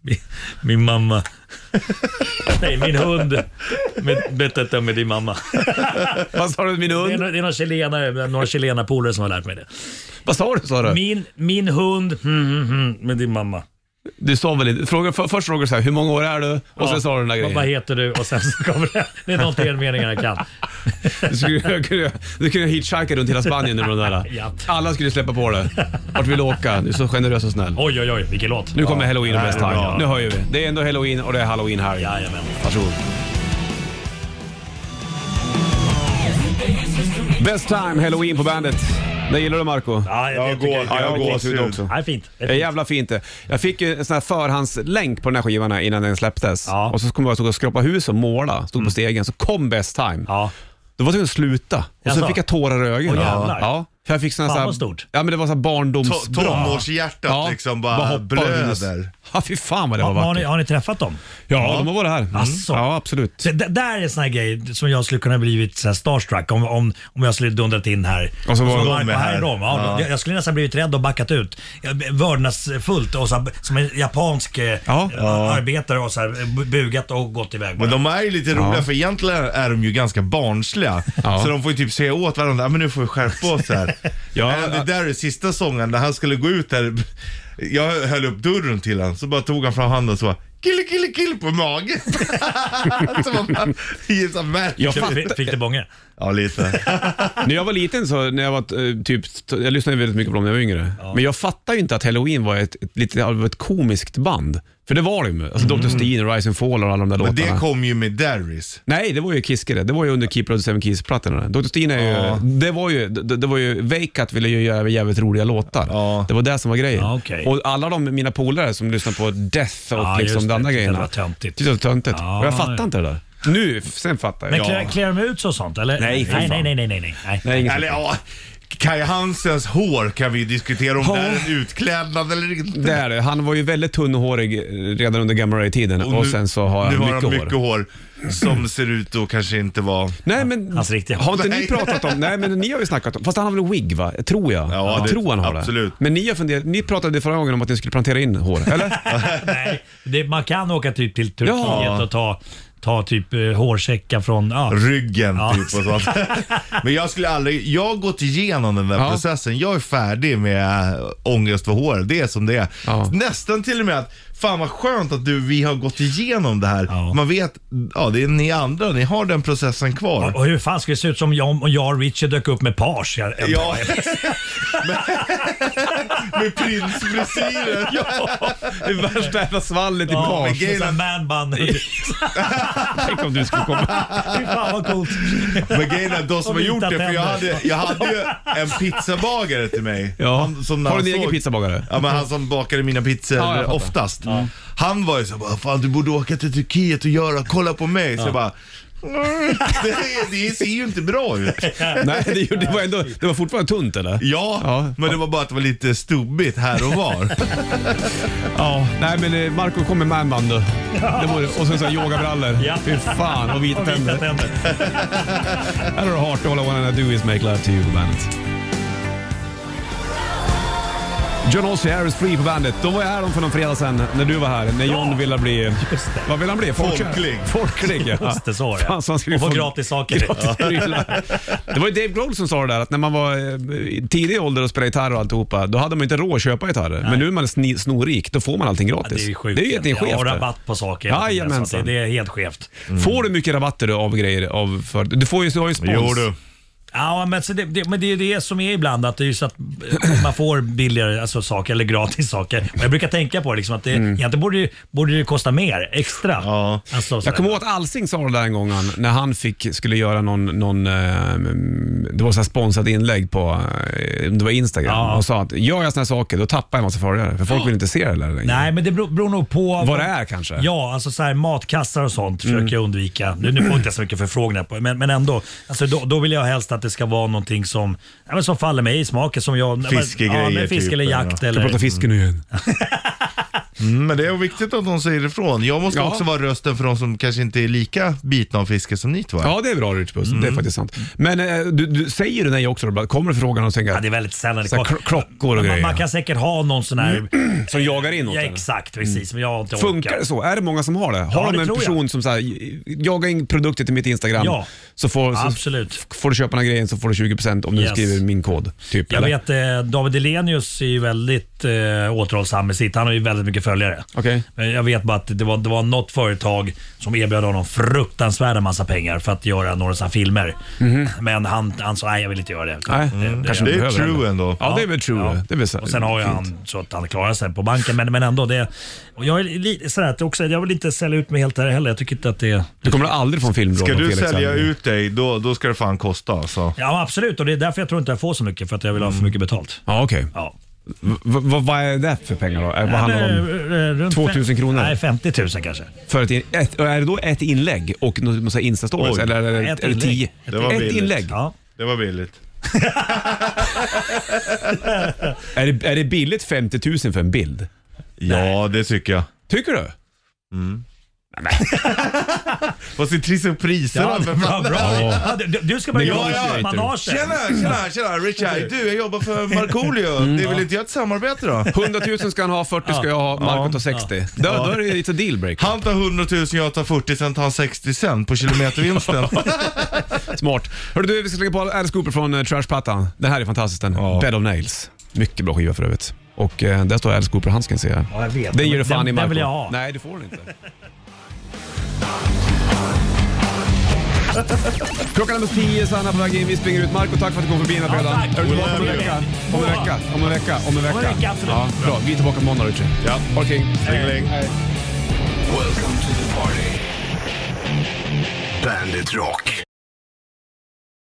A: Min, min mamma. Nej, min hund. Med, berätta med din mamma.
C: Vad sa du min
A: Det är,
C: hund?
A: no- det är några chilenare, några chilenarpolare som har lärt mig det.
C: Vad sa du sa du?
A: Min, min hund mm, mm, mm, med din mamma.
C: Du sa väl inte... Fråga, för, först frågade du så här, hur många år är du? Och sen sa du den där
A: Vad, vad
C: grejen.
A: heter du? Och sen så kommer det. Det är de tre meningarna jag kan.
C: Du skulle kunna, du kunde hitchhika runt hela Spanien nu med de där.
A: (laughs) Ja.
C: Alla skulle släppa på dig. Vart vill du åka? Du är så generös och snäll.
A: Oj, oj, oj, vilken låt.
C: Nu kommer halloween och best
B: det är
C: time.
B: bra.
C: Nu höjer vi. Det är ändå halloween och det är halloween här.
A: Jajamän.
C: Varsågod. Best time halloween på bandet. Det gillar du Marco?
A: Ja, jag,
B: Jag
A: jag tycker-
B: går.
C: Ja, jag
B: Jag
C: har gåshud
B: går
C: också.
B: också.
A: Nej, fint. Det är
C: Det är
A: fint.
C: jävla fint det. Jag fick ju en sån här förhandslänk på den här skivan här innan den släpptes.
A: Ja. Mm.
C: Och så kom jag och stod och skrapade hus och måla. Stod på stegen, så kom Best time.
A: Ja.
C: Då var jag tvungen att sluta. Och
A: Jaså?
C: så fick jag tårar i ögonen.
A: Åh,
C: ja.
A: jävlar.
C: ja. För jag fick såna
A: Fan,
C: så här,
A: vad stort.
C: Ja men det var så här
B: To-
C: barndomsbra.
B: Tonårshjärtat liksom bara,
C: hoppar
B: blöder.
C: ut. Ja fy fan vad det
A: Ja,
C: var
A: men har,
C: vackert.
A: ni, har ni träffat dem?
C: Ja, de har varit här. Mm.
A: Asså.
C: Ja absolut.
A: Så det, där är en sån här grej som jag skulle kunna blivit så här starstruck om, om, om jag skulle dundrat in här.
C: Och så var de
A: Marco,
B: med
A: här.
B: här.
A: är de. Ja,
B: Ja.
A: Jag, jag skulle nästan blivit rädd och backat ut. Jag- Vördnadsfullt och så här, som en japansk eh,
C: Ja.
A: eh, arbetare och så här, bu- bugat och gått iväg.
B: Men
A: bara.
B: de är ju lite roliga för egentligen är de ju ganska barnsliga.
C: Ja.
B: Så de får ju typ säga åt varandra, "Ah, men nu får vi skärpa oss här.
C: (laughs) Ja,
B: ja, det
C: ja.
B: där är sista sången när han skulle gå ut där. Jag höll upp dörren till han så bara tog han fram handen och så bara, kille kille kille på magen. (laughs) så man bara, gissa märker.
A: Fick- fick, fick det bånge?
B: Ja lite.
C: När jag var liten så, när jag var eh, typ, jag lyssnade väldigt mycket på dem när jag var yngre. Men jag fattade ju inte att Halloween var ett, ett, lite av ett komiskt band. För det var det ju.
A: Mm.
C: Alltså Dr. Steen och Rise and Fall och alla de där
B: Men
C: låtarna.
B: det kom ju med Darris.
C: Nej, det var ju Kiske det. Det var ju under Keeper of the Seven Keys-plattorna. Dr. Steen är ju, det var ju, det, det var ju, Veikat ville ju göra jävligt roliga låtar.
B: Ja.
C: Det var det som var grejen.
A: Ja, okej.
C: Och alla de, mina polare som lyssnar på Death och
A: Ja,
C: liksom
A: just
C: de
A: det.
C: andra
A: Tyckte
C: grejerna.
A: det var töntigt.
C: Tyckte det var töntigt.
A: Ja,
C: och jag fattar
A: ja.
C: inte det där. Nu, sen fattar jag.
A: Men
C: Ja.
A: klär, klär de ut sig och sånt eller?
C: Nej, för
A: nej,
C: fan.
A: nej, nej, nej, nej, nej.
C: Nej, inget
B: Eller ja, Kai Hansens hår kan vi diskutera om
C: Ja.
B: det är en utklädnad eller inte.
C: Det är det. Han var ju väldigt tunnhårig eh, redan under Gamma Ray-tiden och,
B: nu-
C: sen så har han
B: nu
C: mycket,
B: har han mycket
C: hår.
B: hår.
C: (laughs)
B: Som ser ut att kanske inte vara...
C: Nej men,
A: Hans riktiga.
C: har inte ni
B: Nej.
C: pratat om, nej men ni har ju snackat om, fast han har väl wig va? Tror jag.
B: Ja,
C: jag
B: det-
C: tror han har
B: absolut.
C: det. Men ni har funderat, ni pratade förra gången om att ni skulle plantera in hår, eller?
A: (laughs) Nej, det, man kan åka typ till Turkiet
C: Ja.
A: och ta, ta typ eh, hårsäckar från... Ja.
B: Ryggen
A: Ja.
B: typ och
C: (laughs)
B: sånt. Men jag skulle aldrig, jag har gått igenom den där
C: Ja.
B: processen. Jag är färdig med äh, ångest för hår. Det är som det är.
C: Ja.
B: Nästan till och med att, fan vad skönt att du, vi har gått igenom det här.
A: Ja.
B: Man vet, ja det är ni andra, ni har den processen kvar.
A: Och hur fan skulle det se ut som jag och jag och Richard dök upp med page? Jag,
B: Ja. (laughs) med, (laughs) med prinsfrisyren.
C: Det (laughs) värsta jävla svallet i
A: Ja,
C: page.
A: med sån här man bun.
C: Tänk om du skulle (laughs) komma.
A: (laughs) Fy fan vad coolt.
B: Men grejen är de som
A: Och
B: har gjort
A: vita
B: det, för jag
A: tänder.
B: hade, jag hade ju en pizzabagare till mig.
C: Ja.
B: Han, som när
C: Har du
B: han
C: en egen
B: såg-
C: pizzabagare?
B: Ja men han som bakade mina pizzor
C: Ja, jag fattar.
B: oftast. Han var ju så bara, fan du borde åka till Turkiet och göra, kolla på mig. Så jag bara, "Mm, (laughs) det, det ser ju inte bra ut.
C: (laughs) Nej, det, gjorde- det var ändå, det var fortfarande tunt eller?
B: Ja,
C: Ja.
B: men det var bara att det var lite stubbigt här och
C: (laughs)
B: var.
C: Ja, nej men eh, Marco kom med manband då. Det vore, och sen så här yogabrallor.
A: Ja.
C: Fy fan, och vita
A: Och vita
C: tänder.
A: tänder.
C: Här har du Heart All I Wanna Do Is Make Love To You på bandet. John Ossie, Harris Free på bandet. De var ju här om för någon fredag sedan när du var här. När John ville bli...
A: Just det.
C: Vad vill han bli? Folkkär?
B: Folklig.
C: Folklig, ja.
A: (laughs) Just det, så var det.
C: Fan, så han skulle
A: Och få
C: få-
A: gratis saker.
C: (laughs) Gratis prylar. Det var ju Dave Grohl som sa det där att när man var eh, i tidig ålder och spelade gitarr och alltihopa, då hade man inte råd att köpa gitarrer. Men nu är man sni- snorrik, då får man allting gratis.
A: Ja, det är ju sjukt.
C: Det är ju egentligen
A: Ja,
C: skevt.
A: och
C: det.
A: rabatt Mm. på saker.
C: Jajamensan.
A: Så att det, det är helt skevt.
C: Får du mycket rabatter av grejer? Av för... Du får ju, du har ju spons.
A: Ja, men, så det, det, men det är det som är ibland, att det är ju så att eh, man får billigare alltså, saker eller gratis saker. Och jag brukar tänka på det, liksom, att det,
C: Mm.
A: egentligen borde, ju- borde det kosta mer, extra.
B: Ja.
A: Alltså, så
C: Jag
A: här.
C: kommer ihåg att Alsing sa det där en gång han, när han fick, skulle göra någon, någon eh, mm, det var så här sponsrat inlägg på eh, det var Instagram
A: Ja.
C: och sa att gör jag såna här saker då tappar jag en massa följare för folk vill inte se det där längre.
A: Nej, men det beror, beror nog på...
C: Vad det är kanske? Mm.
A: Ja, alltså så här, matkassar och sånt försöker jag undvika. Nu, nu får jag inte så mycket förfrågningar, på, men, men ändå. Alltså, då, då vill jag helst att det ska vara någonting som, ja, men som faller mig i smaken. Som jag,
B: Fiskegrejer
A: ja, men Fisk
B: typ,
A: eller
B: eller
A: jakt.
C: Du
A: Eller,
C: pratar fisken nu igen.
B: Mm, Men det är viktigt att de säger ifrån. Jag måste
C: Ja.
B: också vara rösten för de som kanske inte är lika bitna av fiske som ni två är.
C: Ja, det är bra Richbus.
A: Mm.
C: Det är faktiskt sant. Men eh, du, du säger du nej också? då? Bara Kommer du frågan och tänker
A: ja, det är väldigt sällan det
C: så här,
A: kommer.
C: kro- klockor och
A: man,
C: grejer? Mm.
A: man kan säkert ha någon sån här...
C: (clears throat) Som jagar in åt
A: Ja,
C: en?
A: exakt, precis. Men jag har inte
C: Funkar
A: orkat.
C: det så? Är det många som har det? Har
A: Ja,
C: de
A: det
C: en
A: tror jag.
C: person som så här, jagar in produkter till mitt Instagram
A: Ja.
C: så, får, så
A: Absolut.
C: f- får du köpa den här grejen så får du 20% om du
A: Yes.
C: skriver min kod. Typ,
A: Jag
C: eller?
A: vet eh, David Elenius är ju väldigt eh, återhållsam med sitt. Han har ju väldigt mycket följare.
C: Okej.
A: Men Jag vet bara att det var, det var något företag som erbjöd honom fruktansvärda massa pengar för att göra några sådana filmer. Men han, han sa nej, jag vill inte göra det.
C: Mhm. Nej, kanske
B: det är
C: behöver
B: true
C: heller.
B: ändå.
C: Ja, det är väl true.
A: Ja.
C: Det är väl så,
A: och sen har ju
C: fint.
A: han så att han klarar sig på banken. Men, men ändå, det, och jag, är lite sådär, att också, jag vill inte sälja ut mig helt där heller. Jag tycker inte att det är...
C: Du kommer aldrig få en filmroll
B: Ska
C: av
B: du
C: Felix
B: sälja
C: Sandberg.
B: ut dig, då, då ska det fan kosta alltså.
A: Ja, absolut. Och det är därför jag tror inte jag får så mycket. För att jag vill ha
C: Mm.
A: för mycket betalt.
C: Ja, okej.
A: Ja.
C: V- v- Vad är det för pengar då? Vad handlar det om?
A: om?
C: 2000 kronor?
A: eh, Nej, 50 000 kanske.
C: För ett, in- ett, är det då ett inlägg och något något så här Insta-stories?
B: Oj.
C: Eller är det,
A: Ett
C: är det
A: inlägg.
C: tio?
B: Det var
C: ett
B: billigt.
C: inlägg?
A: Ja.
B: Det var billigt.
C: Är, det, är det billigt 50 000 för en bild?
B: Ja, det tycker jag.
C: Tycker du?
B: Fast det trissar upp priserna
A: Ja,
B: för fan.
A: bra, bra. Ja, du, du ska bara
C: Men
A: göra
C: jag är
A: ja,
C: ju
A: manage.
B: Tjena, tjena, tjena Richard. Du, jag
A: (laughs)
B: jobbar för Markoolio.
A: Mm,
B: Det vill inte göra ett samarbete då?
C: 100 000 ska han ha, 40 ska jag ha, Marco tar 60. Då, då är det lite dealbreak.
B: Han tar 100 000, jag tar 40, sen tar han 60 sen på kilometervinsten.
A: (laughs)
C: Smart. Hörru du, vi ska lägga på Alice Cooper från eh, Trashplattan. Den här är fantastisk den. Bed of Nails. Mycket bra skiva för övrigt. Och eh, där står Alice Cooper, han ska jag säga.
A: Ja, jag vet.
C: Den ger du
A: Den-
C: fan i
A: den
C: Marco.
A: vill jag ha.
C: Nej, du får den inte. Klockan är nummer 10, Sanna på väg in. Vi springer ut. Marco, tack för att du kom förbi den här
A: Ja,
C: fredagen.
A: tack.
C: Är du tillbaka om en
A: Love you.
C: vecka? Om en vecka? Om en vecka? Om en vecka?
A: Om en vecka, absolut.
C: Ja, bra. Vi är tillbaka på måndag, Richard.
B: Ja.
C: Ha det king.
B: Ringeling.
H: Welcome to the party. Bandit Rock.